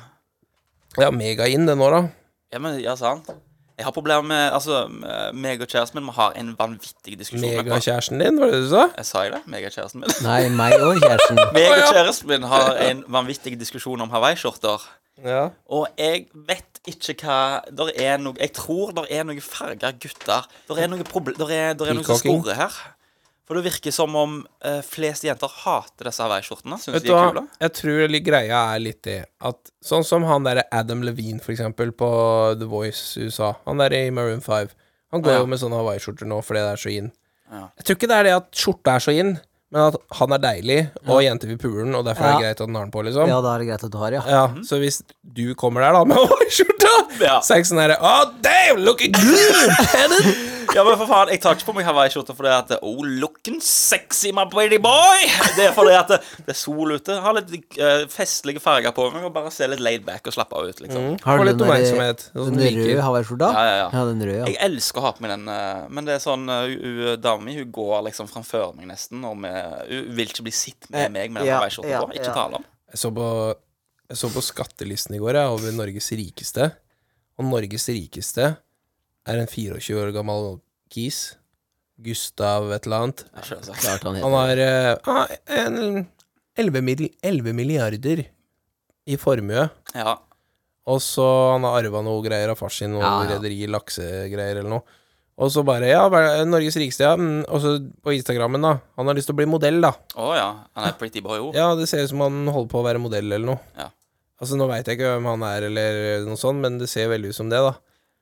Jeg er mega in det nå, da. Ja, men, ja, sant. Jeg har problemer med Altså, meg og kjæresten min vi har en vanvittig diskusjon. med hverandre. Megakjæresten din, var det det du sa? Jeg sa jeg det? Meg og kjæresten min. Nei, meg og kjæresten. Meg og Å, ja. kjæresten min har en vanvittig diskusjon om hawaiiskjorter. Ja. Og jeg vet ikke hva der er noe, Jeg tror det er noen farga gutter. Det er noe, proble- der er, der er noe som Peacocking. skorrer her. For det virker som om eh, flest jenter hater disse hawaiiskjortene. Syns Vet de du er hva, kule. jeg tror li- greia er litt det at Sånn som han derre Adam Levine, for eksempel, på The Voice USA. Han der i Maroon 5. Han går Ah, Ja. jo med sånne hawaiiskjorter nå fordi det er så in. Ja. Jeg tror ikke det er det at skjorta er så in, men at han er deilig, og jenter vil pule den, og derfor er Ja. det greit at han har den på, liksom. Ja, Ja. da er det greit at du har, ja. Så hvis du kommer der da med hawaiiskjorta, Mhm. Ja. så er det ikke sånn herre Oh, damn, looking good! Adam!» Ja, men for faen, Jeg tar ikke på meg hawaiiskjorte fordi at Oh, looking sexy, my pretty boy! Det er fordi at det, det er sol ute. Har litt eh, festlige farger på meg og bare ser litt laid back og slapper ut, liksom. Får litt den der- oppmerksomhet. sånn som Den du liker. røde hawaiiskjorta? Ja, ja, ja. ja, den røde, ja. Jeg elsker å ha på meg den, eh, men det er sånn eh, hun- hun dama mi hun går liksom framfor meg nesten. Og med, hun vil ikke bli sitt med meg med den Ja, hawaiiskjorta ja, på. Ikke ja. tale om. Jeg så på, jeg så på skattelisten i går, jeg, over Norges rikeste. Og Norges rikeste er en 24 år gammel kis. Gustav et eller annet. Selvsagt. Klart han Han har eh, heter ah, en 11, mil, 11 milliarder i formue. Ja. Og så han har arva noe greier av far sin, noe Ja, ja. rederi, laksegreier eller noe. Og så bare Ja, hva er- Norges rikeste, ja. mm, Og så på Instagrammen, da. Han har lyst til å bli modell, da. Å ja. Han er pretty boy òg. Ja, det ser ut som han holder på å være modell eller noe. Ja. Altså, nå veit jeg ikke hvem han er, eller noe sånt, men det ser veldig ut som det, da.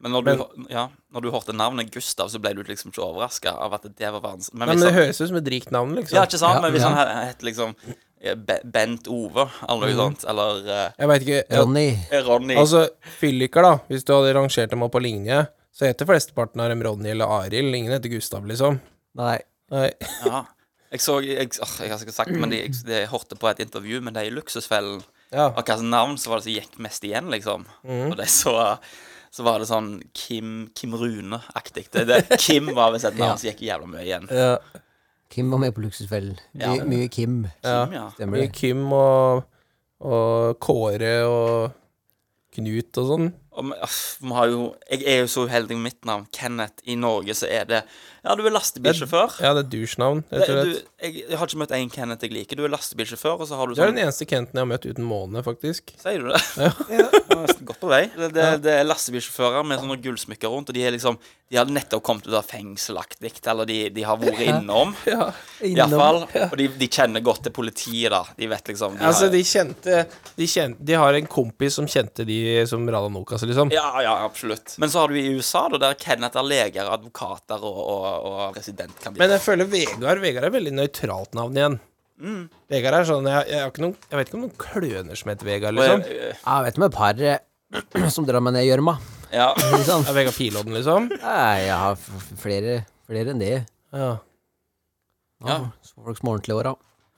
Men når du, ja, når du hørte navnet Gustav, så ble du liksom ikke overraska av at det var verdens Nei, hvis men det han, høres ut som et rikt navn, liksom. Ja, ikke sant? men hvis Ja. han he- het liksom eh, Be- Bent Ove eller noe sånt, eller Jeg veit ikke ja, Ronny. eh, Ronny Altså, fylliker, da, hvis du hadde rangert dem opp på linje, så heter flesteparten av dem Ronny eller Arild. Ingen heter Gustav, liksom. Nei. Nei. ja. Jeg så jeg, åh, jeg har sikkert sagt men de, jeg, jeg hørte på et intervju med de i Luksusfellen. Ja. Og hvilket navn så var det som gikk mest igjen, liksom. Og de så så var det sånn Kim, Kim Rune-aktig. Det, det, Kim var visst et navn som gikk jævla mye igjen. Ja. Kim var med på Luksusfellen. My, Ja. Mye Kim. Kim, ja. Stemmer Mye det. Kim og, og Kåre og Knut og sånn. Og vi- aff, vi har jo, jeg er jo så uheldig med mitt navn. Kenneth. I Norge så er det Ja, du er lastebilsjåfør. Ja, det er douche-navn, Det- rett og Du, slett. jeg, jeg har ikke møtt én Kenneth jeg liker. Du er lastebilsjåfør, og så har du Du er sånn den eneste Kenten jeg har møtt uten måne, faktisk. Sier du det? Ja. det var nesten Godt på vei. Det, det, det er lastebilsjåfører med sånne gullsmykker rundt, og de er liksom De hadde nettopp kommet ut av fengselaktig, eller de, de har vært innom. Ja. I hvert fall, og de, de kjenner godt til politiet, da. De vet liksom de Altså, har- de kjente de, kjen- de har en kompis som kjente de som Rada Nokas, liksom. Ja, ja, absolutt. Men så har du i USA, da, der Kenneth er leger, advokater og, og, og presidentkandidat. Men jeg føler Vegard Vegard er veldig nøytralt navn igjen. Mm. Vegard er sånn jeg, jeg, har ikke noen, jeg vet ikke om noen kløner som heter Vegard, liksom. Og jeg- Jeg vet om et par eh, som drar meg ned i gjørma. Ja. Liksom. Er Vegard Pilodden, liksom? Nei, Jeg har f- flere, flere enn det. Ja. Ja. Ja. så Folk som er ordentlig i åra.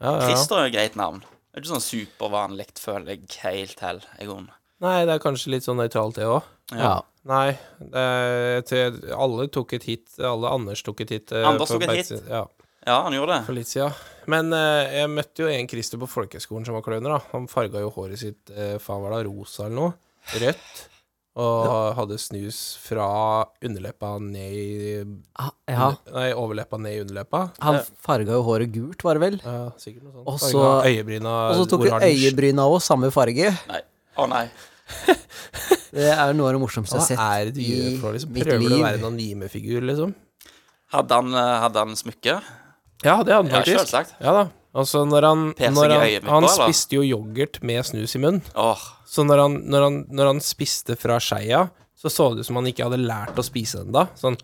Ja, ja. Christer er jo et greit navn. Det er ikke sånn supervanlig, føler jeg helt til. Jeg grunn. Nei, det er kanskje litt sånn nøytralt, det òg. Ja. Nei, det er, til, alle tok et hit. Alle Anders tok et hit. eh, Anders på tok et Bergs- hit. Ja, ja, han gjorde for det. litt siden. Men eh, jeg møtte jo en Christer på folkehøgskolen som var kløner. da Han farga jo håret sitt eh, faen var det rosa eller noe. Rødt. Og hadde snus fra underleppa ned i Ah, Ja, Nei, overleppa ned i underleppa. han farga jo håret gult, var det vel? Ja, sikkert noe sånt. Og så- Farga øyebryna Og så tok vi øyebryna òg, samme farge. Nei. Å nei. Det er noe av det morsomste Hva jeg har er sett det du i gjør for noe? Liksom? mitt Prøver du å liv. være en animefigur, liksom? Hadde han, eh, hadde han smykke? Ja, det hadde han Ja, faktisk. selvsagt. Ja da. Altså, når han, Persing når i han, øyet mitt han da, eller? spiste jo yoghurt med snus i munnen, Åh, så når han, når han, når han spiste fra skeia, så så det ut som han ikke hadde lært å spise ennå. Sånn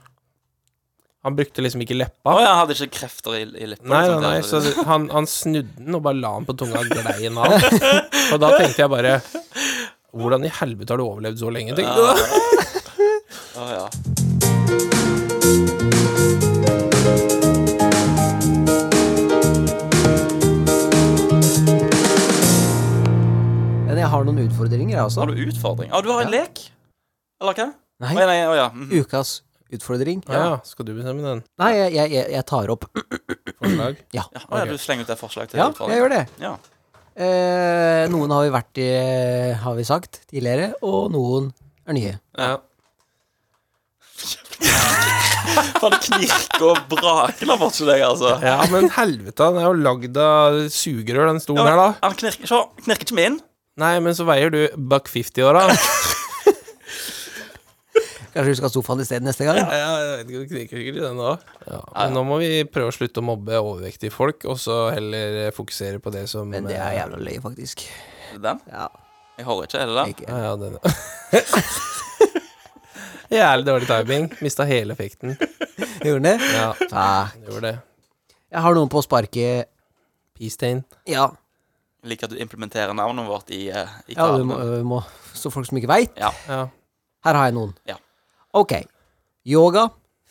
Han brukte liksom ikke leppa. Å ja, han hadde ikke krefter i, i lippene? Nei, nei, liksom, nei, det- så det- han, han snudde den og bare la den på tunga og glei den av. Og da tenkte jeg bare Hvordan i helvete har du overlevd så lenge? tenkte jeg da. Å, ja. Men jeg har noen utfordringer, jeg også. Har du utfordring? Å, du har en lek? Eller hva? Nei. Å, nei, å, ja. mhm. Ukas utfordring. Ja, ja, skal du bestemme den? Nei, jeg, jeg, jeg- jeg tar opp. Forslag? Ja, Ja, å, ja, du slenger ut et forslag til ja utfordring. jeg gjør det. Ja. Eh, noen har vi vært i, har vi sagt, tidligere, og noen er nye. Ja. Faen, det knirker og braker der borte hos deg, altså. ja, men helvete, han er jo lagd av sugerør, den stolen her, da. Han knirker, se, han knirker ikke med inn. Nei, men så veier du buck 50 år, da. Kanskje du skal ha sofaen i stedet neste gang? Ja, jeg vet ikke, det kniker sikkert i den da. Ja, men nå må vi prøve å slutte å mobbe overvektige folk, og så heller eh, fokusere på det som Men det eh, er jævla løye, faktisk. Er det Den? Ja, Jeg hører ikke, er det den? ikke. Ja, ja, den Jævlig dårlig timing. Mista hele effekten. Gjorde den det? Ja, Ja. det gjorde det. Jeg har noen på sparket. Peace-tain. Ja, Jeg liker at du implementerer navnet vårt i, eh, i ja vi, talen. må, vi må Så folk som ikke veit, Ja. Ja. her har jeg noen. Ja. Ok. Yoga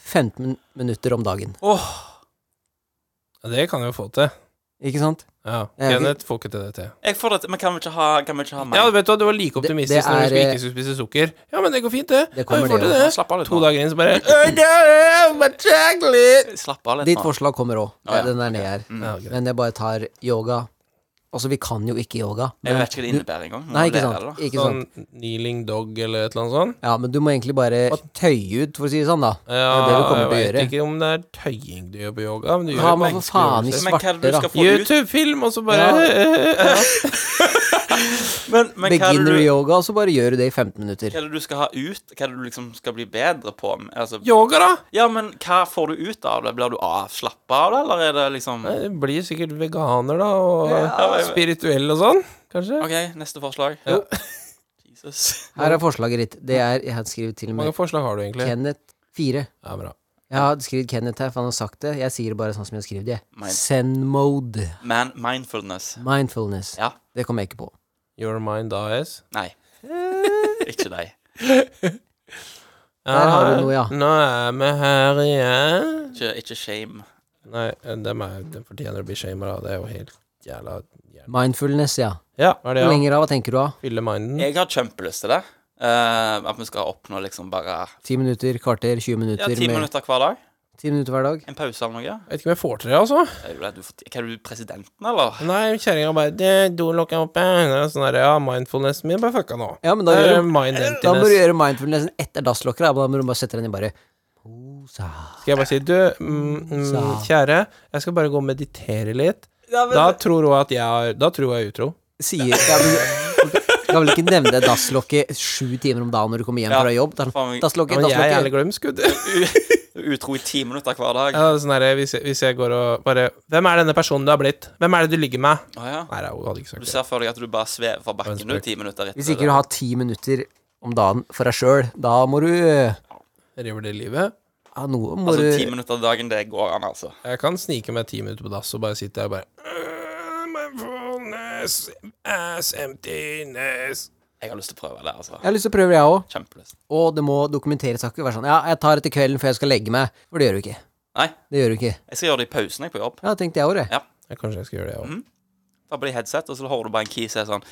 15 min- minutter om dagen. Åh, Ja, det kan jeg jo få til. Ikke sant? Ja. Ja, vi- Kenneth får ikke til det til. jeg får det til, men kan vi ikke ha, kan vi ikke ha meg? Ja, vet du hva, du var like Det- det optimistisk når er, du skulle eh, ikke skulle spise sukker. Ja, men det går fint, det. Det kommer ja, vi får det, til ja. det. Slapp av litt To nå. dager inn, så bare «I don't have my chocolate!» Slapp av litt Ditt nå. forslag kommer òg. Å, ja. Den er nede her. Ja, greit. Men jeg bare tar yoga. Altså, vi kan jo ikke yoga. Jeg Men, vet ikke hva det innebærer engang. Må nei, ikke lære det, sant. da. Ikke sant. Sånn kneeling dog eller et eller annet sånt. Ja, men du må egentlig bare tøye ut, for å si det sånn, da. Ja, det er det du kommer til å jeg gjøre. vet ikke om det er tøying du gjør på yoga, men du gjør Ja, et men for menneskelig faen i øvelse. Men hva er det svarte, du da. skal få ut? YouTube-film, og så bare Men, men hva, er det Beginner du, yoga, og så bare gjør du det i 15 minutter. hva er det du skal ha ut? Hva er det du liksom skal bli bedre på? Altså, Yoga, da! ja, men hva får du ut av det? Blir du avslappa av det, eller er det liksom Nei, det blir sikkert veganer, da, og Ja. spirituell og sånn, kanskje. OK, neste forslag. Jesus. Her er forslaget ditt. Det er Jeg hadde skrevet til og Hvor mange med forslag har du egentlig? Kenneth 4. Ja, bra. Jeg har skrevet Kenneth her, for han har sagt det. Jeg sier det bare sånn som jeg har skrevet det. Mind- Zen-mode. Man, mindfulness. Mindfulness. Ja. Det kom jeg ikke på. Your mind dies. Nei. ikke deg. Der har du noe, ja. Nå er vi her igjen. Ikke, ikke shame. Nei, dem er, de fortjener å bli shama, da. Det er jo helt jævla jævla. Mindfulness, ja. Ja, hva er det, Hvor ja? lenge da? Hva tenker du da? Fylle minden? Jeg har kjempelyst til det. Eh, at vi skal oppnå liksom bare 10 minutter, kvarter, 20 ja, minutter? ti med, minutter hver dag. 10 minutter hver dag? En pause eller noe. Jeg vet ikke om jeg får til det, altså. Er du, er du, for- hva er du presidenten, eller? Nei, kjerringa bare det, 'Dolokket er oppe.' Det er Sånn der, ja, mindfulnessen min bare fucka nå. Eh, Ja, men da, gjør du, mind da må du emptiness. gjøre mindfulnessen etter dasslokket. Da Da må du bare sette den i bare Posa. Skal jeg bare si 'Du, mm, mm, Sa. kjære, jeg skal bare gå og meditere litt'. Da tror hun at jeg er Da tror hun jeg er utro. Sier ja, men, Kan vel ikke nevne dasslokket sju timer om dagen når du kommer hjem Ja, fra jobb? Da- faen meg. Dasslokket, Men jeg er dasslokket. jævlig glømsk, vet du. Utro i ti minutter hver dag. Ja, det er sånn der, hvis, jeg, hvis jeg går og bare Hvem er denne personen du har blitt? Hvem er det du ligger med? Å, ja. Nei, jeg hadde ikke sagt Du det. ser for deg at du bare svever fra bakken du, ti minutter etter. Hvis ikke du har ti minutter om dagen for deg sjøl, da må du ja, River det livet? noe må Altså, ti du minutter dagen, det går an, altså. Jeg kan snike meg ti minutter på dass og bare sitte der og bare «Øh, My fullness ass emptiness Jeg har lyst til å prøve det, altså. Jeg har lyst til å prøve, jeg òg. Kjempelyst. Og det må dokumenteres. Det kan ikke være sånn Ja, jeg tar det til kvelden før jeg skal legge meg. For det gjør du ikke. Nei, Det gjør du ikke. jeg skal gjøre det i pausen jeg på jobb. Ja, tenkte jeg òg, det. Ja. Ja, Kanskje jeg skal gjøre det òg. Ta på deg headset, og så hører du bare en key som er sånn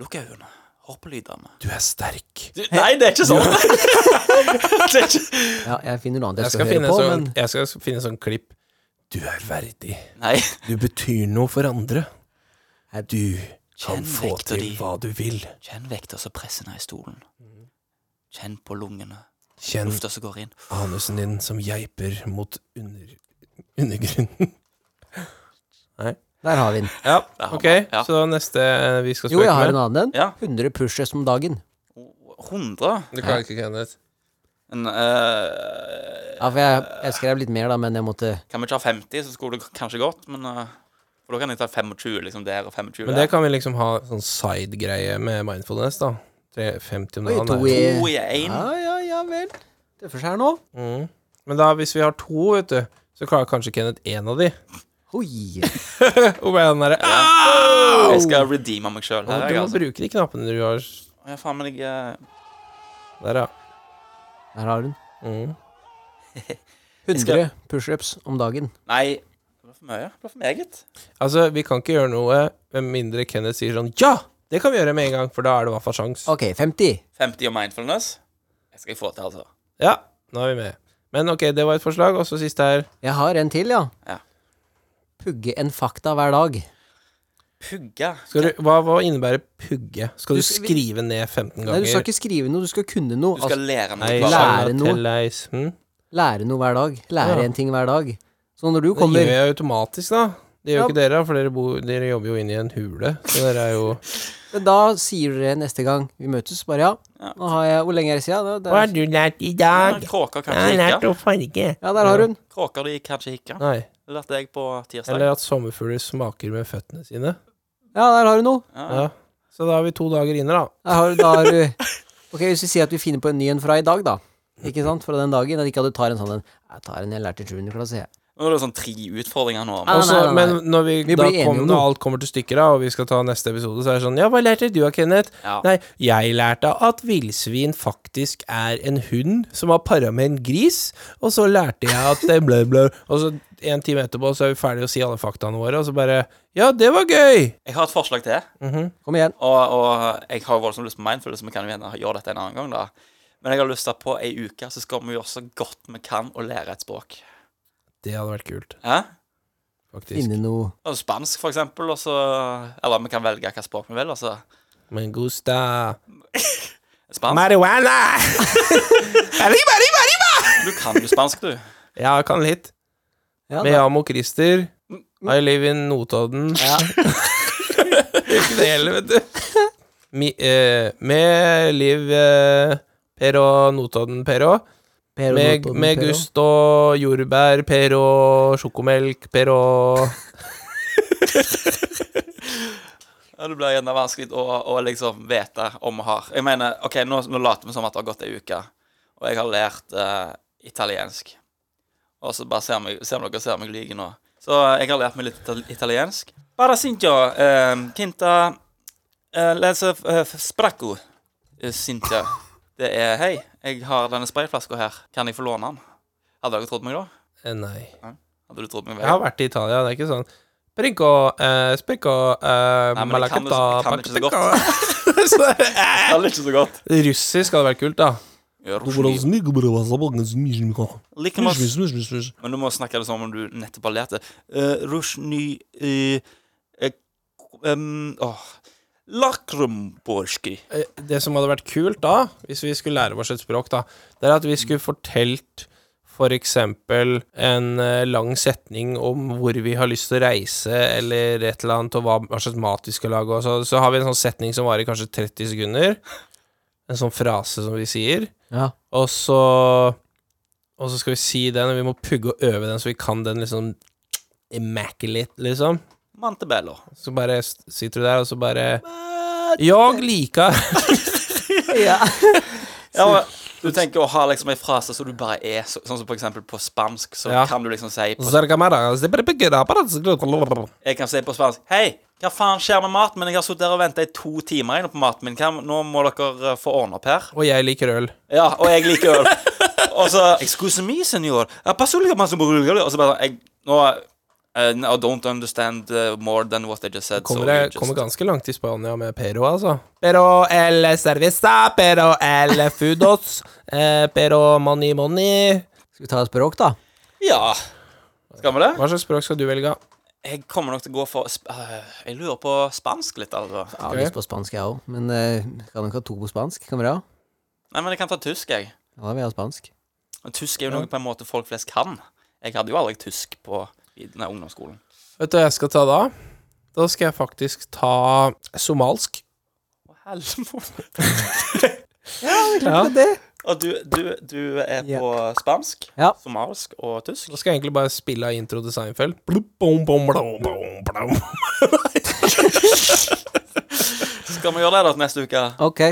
Lukk øynene. Hør på lydene. Du er sterk. Du, nei, det er ikke sånn! det er ikke Ja, jeg finner noe annet jeg Jeg skal, skal, finne høre på, sånn, men jeg skal finne sånn klipp. Du er verdig. Nei. Du betyr noe for andre. Du kan Kjenn få vekta til di. hva du vil. Kjenn vekta som presser ned i stolen. Kjenn på lungene. Kjenn Lufta som går inn. anusen din som geiper mot under, undergrunnen. der har vi den. Ja, Der har ok. man- ja. Så neste eh, vi skal Jo, jeg spøke har med en annen en. Ja. 100 pushups om dagen. 100? Du klarer ikke, Kenneth. En, eh, Ja, for jeg, jeg skrev litt mer, da, men jeg måtte kan vi ikke ha 50, så skulle det kanskje gått, men eh, For da kan jeg ta 25 liksom der og 25 Men det der. kan vi liksom ha sånn side-greie med mindfulness, da. Tre- 50 om Oi, dagen. to er- i- To i én. Ja, ja, ja vel. Tøffer seg her nå. Mm. Men da, hvis vi har to, vet du, så klarer kanskje Kenneth én av de. Oi. Og bare den derre Jeg skal redeeme meg sjøl Du her, jeg, må altså. bruke de knappene du har Ja, faen, men jeg eh, der, ja. Der har hun. Mm. 100 pushups om dagen. Nei, det ble for mye. Det ble for meget. Altså, vi kan ikke gjøre noe med mindre Kenneth sier sånn Ja! Det kan vi gjøre med en gang, for da er det i hvert fall sjans. Ok, 50. 50 og mindfulness. Det skal jeg få til, altså. Ja, nå er vi med. Men ok, det var et forslag, og så siste her. Jeg har en til, ja. Ja. Pugge en fakta hver dag. Pugge. Skal du, hva, hva innebærer pugge? Skal Du du skal- vi- skrive ned 15 ganger? Nei, du skal ikke skrive noe, du skal kunne noe. Du skal lære Nei, meg å klare lære lære noe. noe. Leis. Hm? Altså, lære noe hver dag. Lære Ja. en ting hver dag. Så når Det du gjør kommer jeg automatisk, da. Det gjør Ja. ikke dere, da, for dere, bor, dere jobber jo inne i en hule. Så dere er jo Men da sier dere neste gang vi møtes, bare ja. Ja. Nå har jeg Hvor lenge er det siden? Da- Hva Der, har du lært i dag? Kråker Jeg kanskje har lært ikke. å farge. ja, der har hun. Kråker de kanskje ikke. Nei. Det lærte jeg på tirsdag. Eller at sommerfugler smaker med føttene sine. Ja, der har hun noe. Ja. Ja. Så da har vi to dager inne, da. Der har, da har du Ok, hvis vi sier at vi finner på en ny en fra i dag, da. Ikke sant? Fra den dagen. At ikke at du tar en sånn en. Jeg tar en jeg lærte i 7. klasse, jeg. Nå er det sånn tre utfordringer nå. Ja. Men Og så- nei, nei, nei. men når vi, Vi da blir enige kom, om når noe. alt kommer til stykker, da, og vi skal ta neste episode, så er det sånn Ja, hva lærte du av Kenneth? Ja. Nei, jeg lærte at villsvin faktisk er en hund som har para med en gris, og så lærte jeg at det ble ble Og så en time etterpå så er vi ferdige å si alle faktaene våre, og så bare Ja, det var gøy! jeg har et forslag til, Kom igjen. og, og jeg har jo voldsomt lyst på mindfulness, men kan jo gjerne gjøre dette en annen gang, da. Men jeg har lyst til at på ei uke så skal vi gjøre så godt vi kan å lære et språk. Det hadde vært kult, Hæ? faktisk. Finne noe Og Spansk, for eksempel, og så Eller vi kan velge hvilket språk vi vil, og så Men gusta Altså- Spansk. Marihuana! arriba, arriba, arriba! Du kan jo spansk, du. Ja, jeg kan litt. Ja, Mm, Med da- Amo Christer. I live in Notodden. ja. Ikke det heller, vet du. Mi, eh, med Liv eh, Pero Notodden Pero. Per og Med, Notodden, med Per og- Gust og jordbær Pero sjokomelk Pero Ja, det blir gjerne vanskelig å, å liksom vite om vi har Jeg mener, OK, nå, nå later vi som at det har gått ei uke, og jeg har lært eh, italiensk. Og så bare ser, meg, ser dere ser meg lyge nå. Så eh, jeg har lært meg litt ital italiensk. Para sinto, eh, kinta eh, lese eh, spracco eh, sinto. Det er Hei, jeg har denne sprayflaska her. Kan jeg få låne den? Hadde dere trodd meg da? Eh, Nei. Hadde du trodd meg Jeg har vært i Italia, det er ikke sånn Prinko, eh, sprinko, eh, Nei, men jeg kan det- jeg kan det ikke så godt. malakata, pakataka. Heller ikke så godt. Så, eh, Russisk hadde vært kult, da. Gjør Like much. Men du må snakke det som om du nettopp har lært det. Uh, Rusjny uh, um, oh. Lakrumborski. Eh, Det som hadde vært kult da, hvis vi skulle lære oss et språk, da, det er at vi skulle fortalt for eksempel en eh, lang setning om hvor vi har lyst til å reise, eller et eller annet, og hva, hva slags mat vi skal lage, og så, så har vi en sånn setning som varer kanskje 30 sekunder, en sånn frase som vi sier, Ja. og så, og så skal vi si den, og vi må pugge og øve den, så vi kan den liksom immaculate, liksom. Mantebello. Så bare s- sitter du der, og så bare Jeg liker ja. Ja, men du tenker å ha liksom en frase som du bare er, så, sånn som for eksempel på spansk, så Ja. kan du liksom si på, Altså, Hva Jeg kan si på spansk Hei, hva faen skjer med maten min? Jeg har sittet der og venta i to timer inne på maten min. Hva- Nå må dere eh, få ordne opp her. Og jeg liker øl. Ja, og jeg liker øl. Og så Excuse me, senor. Eh, pasoliga mas- Og så bare sånn, jeg, Nå eh, no, I don't understand eh, more than what I just said. Kommer, so you jeg, just- kommer ganske langt i Spania med Pero, altså. Pero el servisa, pero el fudos, eh, pero money money. Skal vi ta et språk, da? Ja. Skal vi det? Hva slags språk skal du velge? Jeg kommer nok til å gå for sp eh, Jeg lurer på spansk litt, altså. Jeg har lyst på spansk, jeg òg. Men eh, kan du ikke ha to på spansk? Kan vi ha? Nei, men jeg kan ta tysk, jeg. Ja, da vil jeg ha spansk. Men Tysk er jo noe på en måte folk flest kan. Jeg hadde jo aldri tysk på i denne ungdomsskolen. Vet du hva jeg skal ta da? Da skal jeg faktisk ta somalsk. Å, helvete. Ja. Og du, du, du er Ja. på spansk, Ja. somalisk og tysk? Da skal jeg egentlig bare spille av intro til Seinfeld. Blup, bom, bom, blom, blom, blom. Skal vi gjøre det da til neste uke? Ok.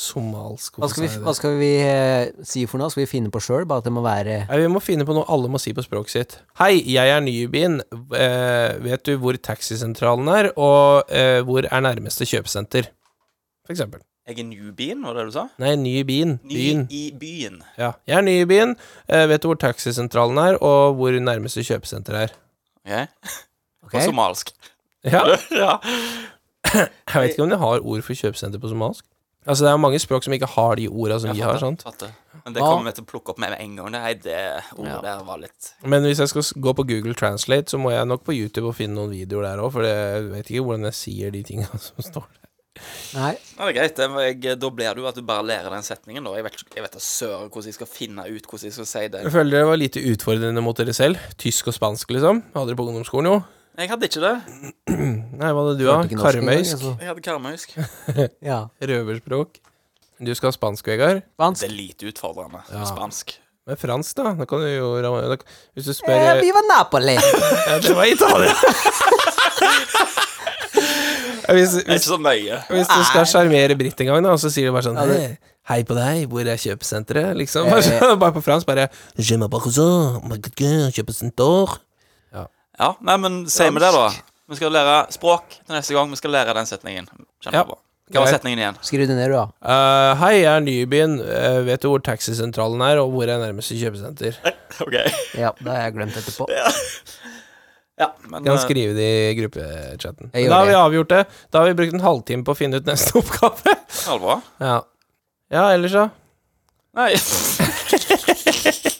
Somalsk. Hva hvorfor skal vi, sa jeg det? hva skal vi eh, si for noe? Skal vi finne på sjøl? Bare at det må være Nei, vi må finne på noe alle må si på språket sitt. Hei, jeg er ny i byen. Eh, vet du hvor taxisentralen er, og eh, hvor er nærmeste kjøpesenter? For eksempel. Jeg er newbien, var det du sa? Nei, ny i byen. Ny Byen. i byen. Ja. Jeg er ny i byen. Eh, vet du hvor taxisentralen er, og hvor nærmeste kjøpesenter er? Ok, Ok? På somalisk. Ja, ja. jeg vet ikke om de har ord for kjøpesenter på somalisk. Altså, det er mange språk som ikke har de orda som vi har, fatter, sant. fatter. Men det Ja. kommer vi til å plukke opp med med en gang. Nei, det ordet Ja. der var litt Men hvis jeg skal s- gå på Google Translate, så må jeg nok på YouTube og finne noen videoer der òg, for jeg vet ikke hvordan jeg sier de tinga som står der. Nei. Ja, det er greit. det var Jeg, da blir det jo at du bare lærer den setningen, da. Jeg vet, ikke- jeg vet da søren hvordan jeg skal finne ut hvordan jeg skal si Jeg det. føler dere var lite utfordrende mot dere selv. Tysk og spansk, liksom. Hadde dere på ungdomsskolen, jo. Jeg hadde ikke det. Nei, hva hadde du, da? Hørte ikke norsk engang, Karmøysk? altså. Jeg hadde karmøysk. Ja. Røverspråk? Du skal ha spansk, Vegard. Det Spansk. er lite utfordrende. Spansk. Men fransk, da? Da kan du jo da, Hvis du spør Eh, viva Napoli! Ja, Det var Italia! hvis, Det er hvis, ikke så nøye. hvis du skal sjarmere Britt en gang, da, og så sier du bare sånn Ja, det- «Hei, Hei på deg, hvor er kjøpesenteret? Liksom. Bare, sånn, bare på fransk, bare Je m'appelle ça, my good girl, kjøpesenter. Ja, nei, men si med det, da. Vi skal lære språk til neste gang. Vi skal lære den setningen. Ja. Kjempebra. Hva var Greit. setningen igjen? Skru det ned, du, da. Eh, hei, jeg er ny i byen. Eh, vet du hvor taxisentralen er, og hvor er nærmeste kjøpesenter? OK. Ja, det har jeg glemt etterpå. Ja, men Kan eh, skrive det i gruppechatten. Jeg gjør Da har vi det. avgjort det. Da har vi brukt en halvtime på å finne ut neste oppgave. eh, alvor? Ja, ja ellers, da? Nei.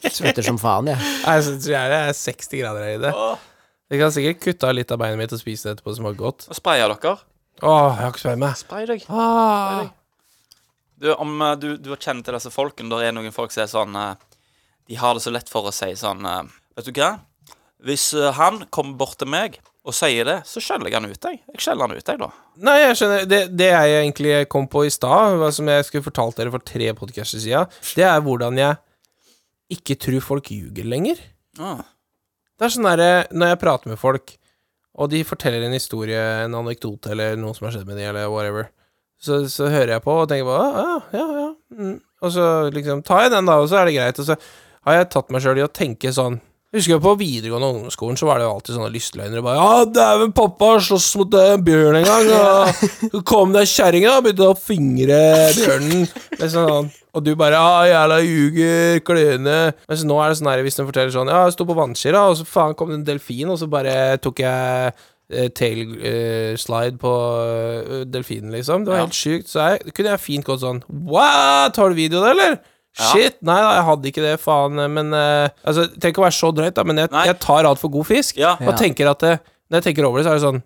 Svetter som faen, jeg. Nei, Jeg syns det er 60 grader her i det. Åh. Vi kan sikkert kutte av litt av beinet mitt og spise det etterpå, som var godt. Og sprayer dere? Åh, jeg har ikke speilet meg. Spray deg. Ah. Du, om eh, du, du har kjent til disse folkene, der er noen folk som er sånn eh, De har det så lett for å si sånn eh, Vet du hva? Hvis eh, han kommer bort til meg og sier det, så skjeller jeg han ut, jeg. Jeg skjeller han ut, jeg, da. Nei, jeg skjønner. Det, det jeg egentlig kom på i stad, hva som jeg skulle fortalt dere for tre podcaster siden, det er hvordan jeg ikke tror folk ljuger lenger. Ah. Det er sånn derre når jeg prater med folk, og de forteller en historie, en anekdote eller noe som har skjedd med dem, eller whatever, så, så hører jeg på og tenker bare «Ah, ja, ja, ja. Mm. Og så liksom tar jeg den, da, og så er det greit. Og så har jeg tatt meg sjøl i å tenke sånn jeg husker jo på videregående og ungdomsskolen så var det jo alltid sånne lystløgnere. Bare 'Ja, dæven, pappa sloss mot eh, bjørn en gang.' Og så kom den kjerringa og begynte å fingre bjørnen. Det er sånn, og du bare 'Ja, jævla ljuger, kløne'. Mens nå er det sånn her, hvis de forteller sånn 'Ja, jeg sto på vannskira, og så faen kom det en delfin', og så bare tok jeg eh, tail eh, slide på eh, delfinen, liksom. Det var Ja. helt sjukt. Så jeg, kunne jeg fint gått sånn 'What?! Har du video av det, eller?' Ja. Shit! Nei da, jeg hadde ikke det, faen. Men eh, altså, Tenk å være så drøyt, da, men jeg, Nei. jeg tar altfor god fisk. Ja. Og tenker at det, Når jeg tenker over det, så er det sånn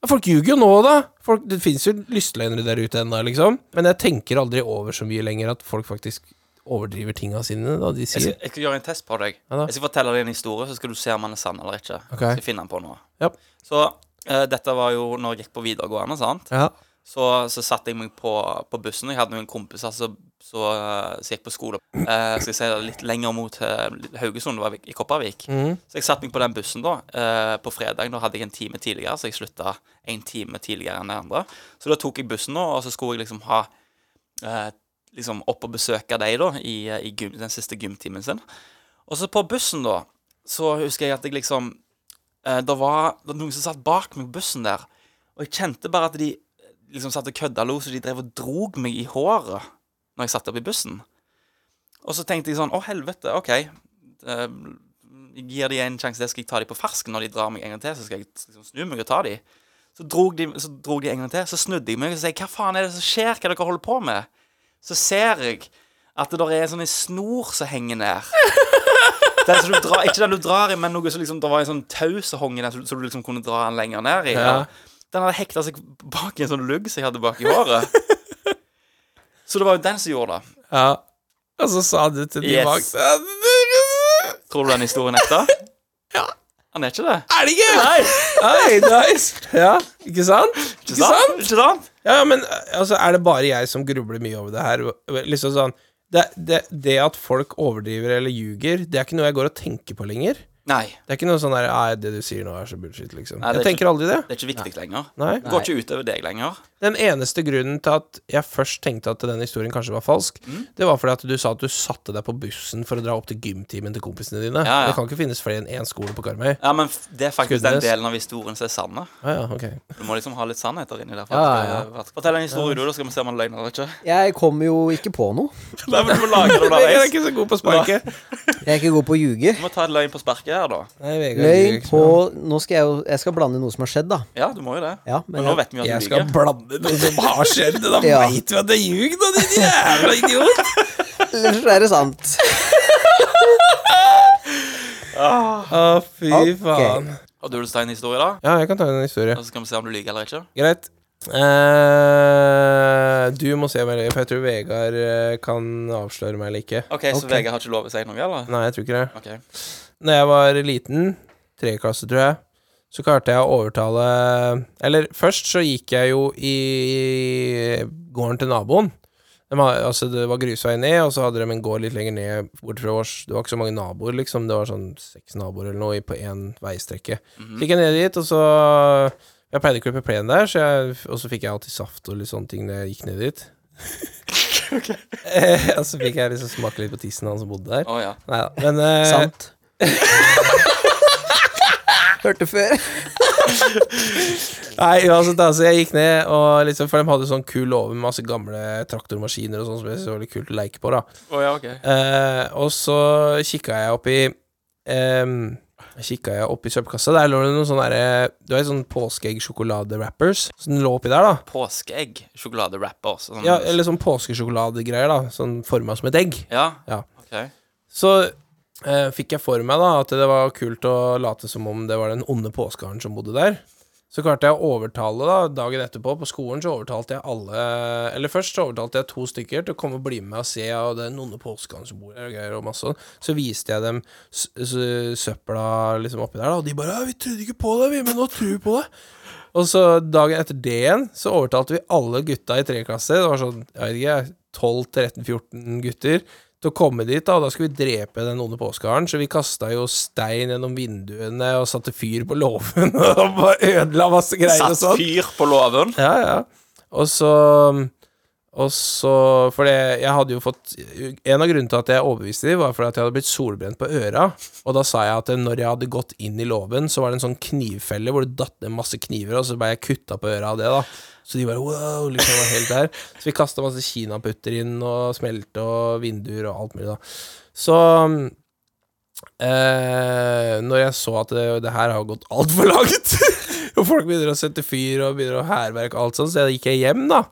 ja, Folk ljuger jo nå, da! Folk, det fins jo lystløgnere der ute ennå, liksom. Men jeg tenker aldri over så mye lenger at folk faktisk overdriver tinga sine, da. De Jeg skal, sier jeg skal gjøre en test på deg. Ja da. Jeg skal fortelle deg en historie, så skal du se om den er sann eller ikke. Ok. Skal finne den på noe. Ja. Så eh, dette var jo når jeg gikk på videregående, sant. Ja. Så, så satte jeg meg på, på bussen. Jeg hadde noen kompiser som så, eh, som gikk på skole eh, Skal jeg si det litt lenger mot eh, Haugesund, det var i Kopervik. Så jeg satte meg på den bussen da eh, på fredag. Da hadde jeg en time tidligere, så jeg slutta en time tidligere enn de andre. Så da tok jeg bussen, da, og så skulle jeg liksom ha eh, liksom opp og besøke deg da, i, i gym, den siste gymtimen sin. Og så på bussen, da, så husker jeg at jeg liksom eh, Det var det var noen som satt bak meg på bussen der, og jeg kjente bare at de liksom satt og kødda og lo, så de drev og drog meg i håret når jeg satt opp i bussen. Og så tenkte jeg sånn Å, helvete, OK. eh, Jeg gir de en sjanse, det skal jeg ta de på fersken når de drar meg en gang til. Så skal jeg liksom snu meg og ta de. Så drog de, så drog de en gang til, så snudde jeg meg og sa Hva faen er det som skjer? Hva er det dere holder på med? så ser jeg at det der er sånn en snor som henger ned. Den som du drar, ikke den du drar i, men noe som liksom, det var en sånn tau som hang i den, så du- så du liksom kunne dra den lenger ned i. Ja. Den hadde hekta seg bak i en sånn lugg som jeg hadde bak i håret. Så det var jo den som gjorde det. ja. Og så sa du til de Yes. bak Er Tror du den historien er ekte? Ja. Han er ikke det? det ikke? Nei. nice. Ja, ikke sant? Ikke sant? Ikke sant? Ja, ja, men altså, er det bare jeg som grubler mye over det her? Liksom sånn Det, det, det at folk overdriver eller ljuger, det er ikke noe jeg går og tenker på lenger. Nei. Det er ikke noe sånn der Nei, det du sier nå, er så bullshit, liksom. Nei, det jeg er ikke- tenker aldri det. Det er ikke viktig lenger. Nei. Det går ikke utover deg lenger. Den eneste grunnen til at jeg først tenkte at den historien kanskje var falsk, Mm. det var fordi at du sa at du satte deg på bussen for å dra opp til gymtimen til kompisene dine. Ja, ja. Det kan ikke finnes flere enn én skole på Karmøy. Ja, men f- det er faktisk Skuddnes. den delen av historien som er sann. da. Ah, ja, ok. Du må liksom ha litt sannheter inni der. for Ja, at det ja, er vanskelig. Fortell en historie, du, da skal vi se om han løgner eller ikke. Jeg kommer jo ikke på noe. Nei, men Du må lage det Jeg er underveis. ikke så god på sparket. Jeg er ikke god på å ljuge. Du må ta et løgn på sparket her, da. Nei, Vegard, Løgn jeg på Nå skal jeg jo Jeg skal blande noe som har skjedd, da. Ja, du må jo det. Ja, men men nå jeg- vet vi jo Jeg at du skal lyver. blande noe som har skjedd. Da Ja. veit vi at det er ljug, da, din jævla idiot! Ellers så er det sant. Å, fy Ok. faen. Og du vil ta en historie, da? Ja, jeg kan ta en historie. Og så skal vi se om du lyver eller ikke. Greit. Eh, du må se meg, for jeg tror Vegard eh, kan avsløre meg eller ikke. OK, så Vegard har ikke lov å si noe, eller? Nei, jeg tror ikke det. OK. Når jeg var liten, tredje klasse tror jeg, så klarte jeg å overtale Eller først så gikk jeg jo i gården til naboen. De har, altså Det var grusvei ned, og så hadde de en gård litt lenger ned bort fra oss. Det var ikke så mange naboer, liksom. Det var sånn seks naboer eller noe i- på én veistrekke. Så gikk jeg ned dit, og så Jeg pleide ikke å klippe plenen der, så jeg, og så fikk jeg alltid saft og litt sånne ting når jeg gikk ned dit. Eh, og så fikk jeg liksom smake litt på tissen han som bodde der. Å ja. Neida, men eh, Sant. Hørte før. Nei, uansett, altså, jeg gikk ned, og liksom, for de hadde sånn kul låve med masse gamle traktormaskiner og sånn, som jeg syntes var litt kult å leke på, da. Å ja, OK. Eh, og så kikka jeg opp i um, Kikka jeg opp i søppelkassa. Der lå det noen sånne derre Du har sånn påskeegg-sjokolade-wrappers som lå oppi der, da. Påskeegg. Sjokoladerapper. Sånn. Ja, eller sånn påskesjokoladegreier, da. Sånn forma som et egg. ja. Ja. OK. Så eh, fikk jeg for meg da at det var kult å late som om det var den onde påskeharen som bodde der. Så klarte jeg å overtale da, dagen etterpå på skolen, så overtalte jeg alle Eller først så overtalte jeg to stykker til å komme og bli med og se av den onde påskeharen som bor her, og greier og masse sånn. Så viste jeg dem s s søpla liksom oppi der, da, og de bare «Ja, 'Vi trodde ikke på det, vi, men nå tror vi på det'. Og så dagen etter det igjen, så overtalte vi alle gutta i tredje klasse, det var sånn, jeg vet ikke, 12-13-14 gutter, til å komme dit, da, og da skulle vi drepe den onde påskeharen, så vi kasta jo stein gjennom vinduene og satte fyr på låven og bare ødela masse greier og Satt sånn. fyr på låven. Ja, ja. Og så Og så For det, jeg hadde jo fått En av grunnene til at jeg overbeviste dem, var fordi at jeg hadde blitt solbrent på øra. Og da sa jeg at når jeg hadde gått inn i låven, så var det en sånn knivfelle hvor det datt ned masse kniver, og så ble jeg kutta på øra av det, da. Så de bare wow, liksom var helt der. Så vi kasta masse kinaputter inn, og smelte og vinduer og alt mulig, da. Så Eh, når jeg så at det, det her har gått altfor langt, og folk begynner å sette fyr og begynner å hærverke og alt sånt, så gikk jeg hjem, da.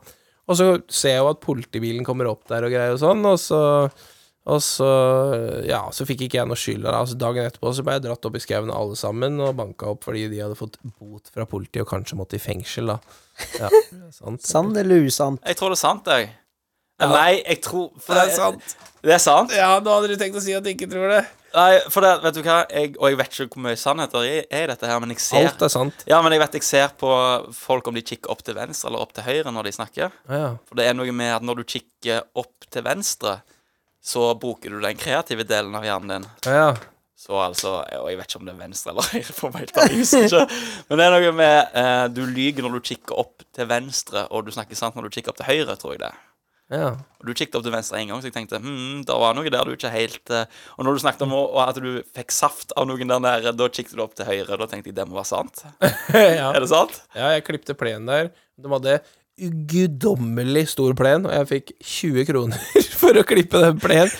Og så ser jeg jo at politibilen kommer opp der og greier og sånn, og så og så, ja, så fikk ikke jeg noe skyld av det. Altså, dagen etterpå så ble jeg dratt opp i skauen alle sammen og banka opp fordi de hadde fått bot fra politiet og kanskje måtte i fengsel, da. Ja, sant. Sann eller usant? Jeg tror det er sant, jeg. Nei, jeg tror for Det er sant. Det er sant? Ja, nå hadde du tenkt å si at du ikke tror det. Nei, for det, vet du hva jeg, Og jeg vet ikke hvor mye sannheter er er i dette her, men jeg ser Alt er sant. Ja, men jeg vet jeg ser på folk om de kikker opp til venstre eller opp til høyre når de snakker. Ja. For det er noe med at når du kikker opp til venstre, så bruker du den kreative delen av hjernen din. Ja. Så altså Og jeg vet ikke om det er venstre eller høyre, for meg, jeg husker ikke. Men det er noe med eh, Du lyver når du kikker opp til venstre, og du snakker sant når du kikker opp til høyre, tror jeg det. ja. Og Du kikket opp til venstre en gang, så jeg tenkte hm, det var noe der du ikke helt eh, Og når du snakket om å- og at du fikk saft av noen der nede, da kikket du opp til høyre. Da tenkte jeg det må være sant. ja. Er det sant? Ja, jeg klippte plenen der. De hadde guddommelig stor plen, og jeg fikk 20 kroner for å klippe den plenen.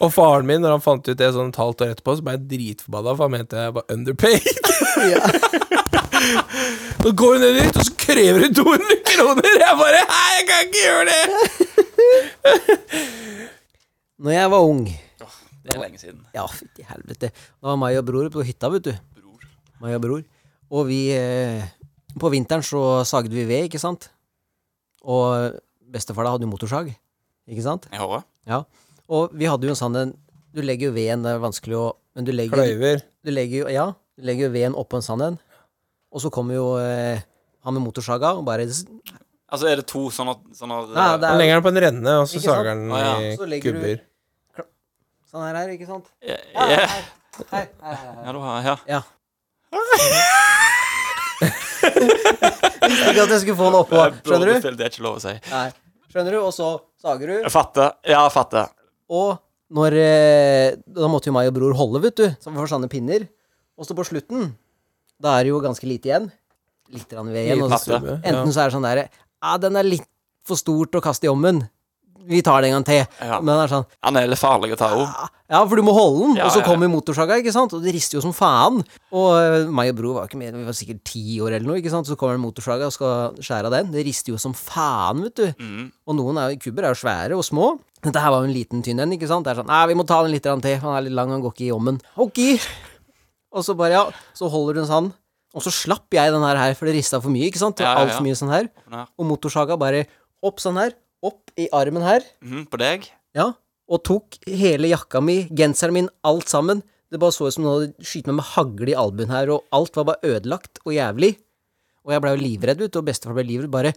Og faren min, når han fant ut det sånn et halvt år etterpå, så ble jeg dritforbanna, for han mente jeg var underpaid. Nå går du ned dit, og så krever du 200 kroner! Jeg bare Hei, jeg kan ikke gjøre det! Når jeg var ung Det er lenge siden. Ja, fytti helvete. Da var meg og bror på hytta, vet du. Meg og bror. Og vi eh, På vinteren så sagde vi ved, ikke sant? Og bestefar da hadde jo motorsag, ikke sant? Jeg hører. Ja. Og vi hadde jo en sånn en Du legger jo veden, det er vanskelig å Men du legger, Kløyver. du legger jo Ja, du legger jo veden oppå en sånn en, og så kommer jo eh, han med motorsaga og bare zzz, Altså, er det to sånne, sånne Nei, det Han legger den på en renne, og så Ikke sant? sager han Ah, ja. Så i legger du- kubber. Sånn her, her, ikke sant? ja, Ja, eh, ja, her, her, her, her, her. ja, du har ja. Ja. Jeg visste ikke at jeg skulle få den oppå. Skjønner du? Burde- Det er ikke lov å si. Nei. Skjønner du? Og så sager du. Jeg fatter. Ja, jeg fatter. Og når eh, Da måtte jo meg og bror holde, vet du. Så vi får sånne pinner. Og så på slutten, da er det jo ganske lite igjen. Litt grann ved igjen. Og så, Lite. enten så er det sånn derre Ja, den er litt for stort å kaste i ommen. Vi tar det en gang til. Ja. Men den er sånn Han er litt farlig å ta òg. «Ah, Ja, for du må holde den. Ja, og så ja, ja. kommer motorsaga, ikke sant. Og det rister jo som faen. Og eh, meg og bror var ikke med, vi var sikkert ti år eller noe, ikke sant. Så kommer en motorsaga og skal skjære av den. Det rister jo som faen, vet du. Mm. Og noen er, jo- kubber er jo svære og små. Dette her var jo en liten tynn en, ikke sant. Det er sånn Nei, vi må ta den litt grann til. Han er litt lang, han går ikke i ommen. Ok. Og så bare, ja. Så holder hun sånn. Og så slapp jeg den her, her, for det rista for mye, ikke sant. Det var Ja, ja, Altfor mye sånn her. her. Og motorsaga bare opp sånn her. Opp i armen her. Mhm, på deg? Ja, og tok hele jakka mi, genseren min, alt sammen. Det bare så ut som noen hadde skutt meg med hagle i albuen her, og alt var bare ødelagt og jævlig. Og jeg blei jo livredd, vet du, og bestefar ble livredd, bare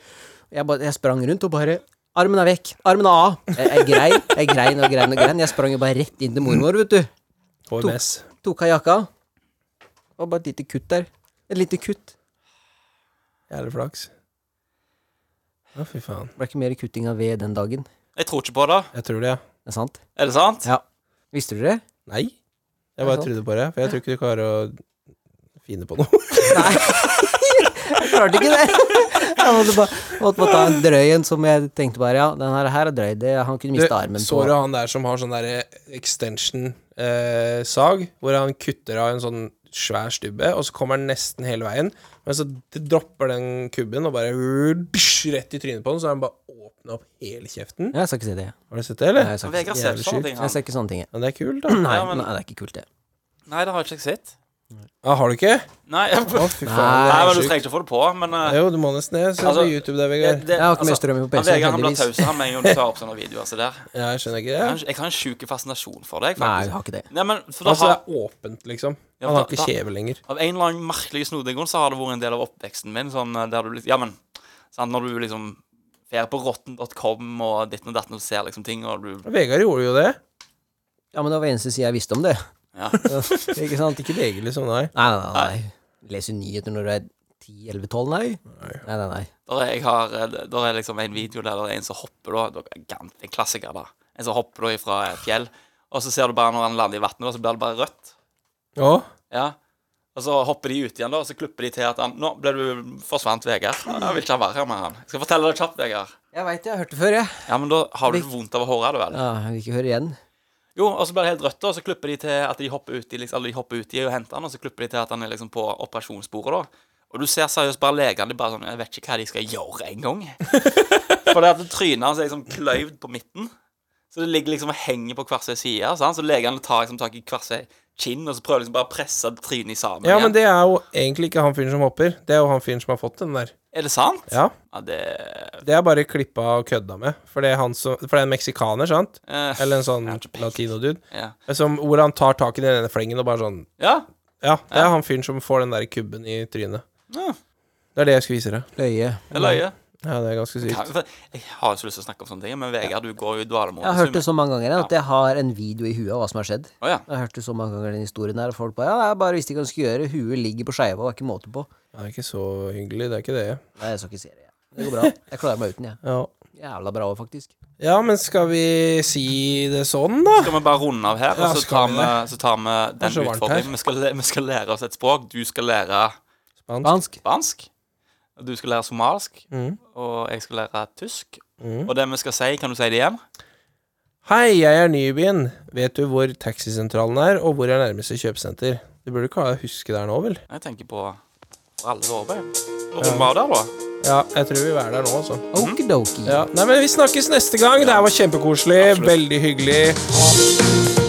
jeg, bare jeg sprang rundt og bare Armen er vekk! Armen er av! Jeg, jeg grein jeg grein og grein og grein. Jeg sprang jo bare rett inn til mormor, vet du. HMS. Tok av jakka. Det var bare et lite kutt der. Et lite kutt. Jævlig flaks. Å, fy faen. Det ble ikke mer kutting av ved den dagen. Jeg tror ikke på det. Jeg tror det, ja. Det er sant? Er det sant? Ja. Visste du det? Nei. Er Jeg bare det sant? trodde på det, for jeg tror ikke du klarer å finne på noe. Nei, jeg klarte ikke det. Jeg måtte bare, måtte bare ta en drøy en som jeg tenkte bare Ja, den her, her er drøy. Det, han kunne miste armen så på du han der som har sånn derre extension-sag, hvor han kutter av en sånn svær stubbe, og så kommer han nesten hele veien, men så d- dropper den kubben og bare bysj, rett i trynet på den, så har han bare åpna opp hele kjeften. Ja, Jeg skal ikke si det. Har du sett det, eller? Nei, jeg, skal ikke, Vegard ser Jævlig ikke sånne sjukt. ting. jeg Han. ser ikke sånne ting. jeg. Men det er kult, da. Nei, Ja, men- nei, det er ikke kult, det. Nei, det har ikke jeg sett. Ja, har du ikke? Nei, Å, Nei, fy faen. det er men du sjukt. trenger ikke få det på. Men eh, Jo, du må nesten det. Se på Altså, YouTube der, det, Vegard. det, Jeg har ikke mye strøm på han PC-en, altså, Vegard han blir taus heldigvis. han med en gang du tar opp sånne videoer. Så der. Ja, jeg skjønner ikke Jeg det. har en- jeg har en sjuk fascinasjon for deg, Nei, faktisk. vi har ikke det. Nei, men for da Altså, har, det er åpent, liksom. Ja, Han har da- ikke da- kjeve lenger. Av en eller annen merkelig snodig grunn så har det vært en del av oppveksten min. Sånn, eh, der du, litt- ja, men, sant, når du liksom fer på rotten.com og ditten og datten og ser liksom ting, og du Vegard gjorde jo det. Ja, men det var eneste siden jeg visste om det. ja. ikke sant? Ikke Ikke VG, liksom, nei. Nei, nei, nei. nei. Leser nyheter når du er 10-11-12, nei. Nei, nei, nei. der, jeg har, eh, der er liksom en video der det er en som hopper, da. da gant- En klassiker, da. En som hopper da fra et fjell, og så ser du bare når han lander i vannet, og så blir det bare rødt. Å, Ja. Og så hopper de ut igjen, da, og så klipper de til at han Nå ble du forsvant, Vegard. Jeg vil ikke ha være her med han. Jeg skal fortelle deg kjapt, Vegard. Jeg veit det, jeg har hørt det før, jeg. Ja, men da har du ikke vondt av å høre det, vel? Ja, jeg vil ikke høre igjen. Jo, og så blir det helt rødt, da, og så klipper de til at de hopper uti liksom, eller de hopper uti og henter han, og så klipper de til at han er liksom på operasjonsbordet, da. Og du ser seriøst bare legene de bare sånn Jeg vet ikke hva de skal gjøre engang. For det at trynet hans er liksom kløyvd på midten. Så det ligger liksom og henger på hver sin side. Sant? Så legene tar liksom tak i hver sin kinn, og så prøver liksom bare å presse trynet sammen. Ja, igjen. men det er jo egentlig ikke han fyren som hopper. Det er jo han fyren som har fått den der. Er det sant? Ja. Ja, det Det er bare klippa og kødda med. For det er, han som, for det er en meksikaner, sant? eh, Eller en sånn jeg har ikke peiling. latino-dude. Ja. Som- Hvor han tar tak i den ene flengen og bare sånn ja. Ja, det er han fyren som får den der kubben i trynet. Ja. Det er det jeg skulle vise deg. Løye. Jeg løyer. Ja, det er ganske sykt. Ja, for Jeg har jo så lyst til å snakke om sånne ting, men Vegard, du går jo i dvalemodus. Jeg har hørt det så mange ganger jeg, at jeg har en video i huet av hva som har skjedd. Å ja. Jeg har hørt det så mange ganger den historien der, og folk bare Ja, jeg bare visste ikke hva jeg skulle gjøre. Huet ligger på skeiva, og er ikke måte på. Det er ikke så hyggelig, det er ikke det. Nei, jeg skal ikke si det. jeg. Det går bra. Jeg klarer meg uten, jeg. Ja. Jævla bra òg, faktisk. ja, men skal vi si det sånn, da? Skal vi bare runde av her, Ja, og så skal tar vi vi, så tar vi er så varmt den her. utfordringen. Vi skal, læ- vi skal lære oss et språk. Du skal lære Spansk. Spansk. spansk. og Du skal lære somalsk. Mm. Og jeg skal lære tysk. Mm. Og det vi skal si, kan du si det igjen? Hei, jeg er ny i byen. Vet du hvor taxisentralen er, og hvor er nærmeste kjøpesenter? Du burde ikke ha- huske der nå, vel? Jeg tenker på for alle våre. Og runder av der, da. Ja, jeg tror vi er der nå, altså. Okidoki. Ja. Nei, men vi snakkes neste gang. Det her var kjempekoselig. absolutt. Veldig hyggelig.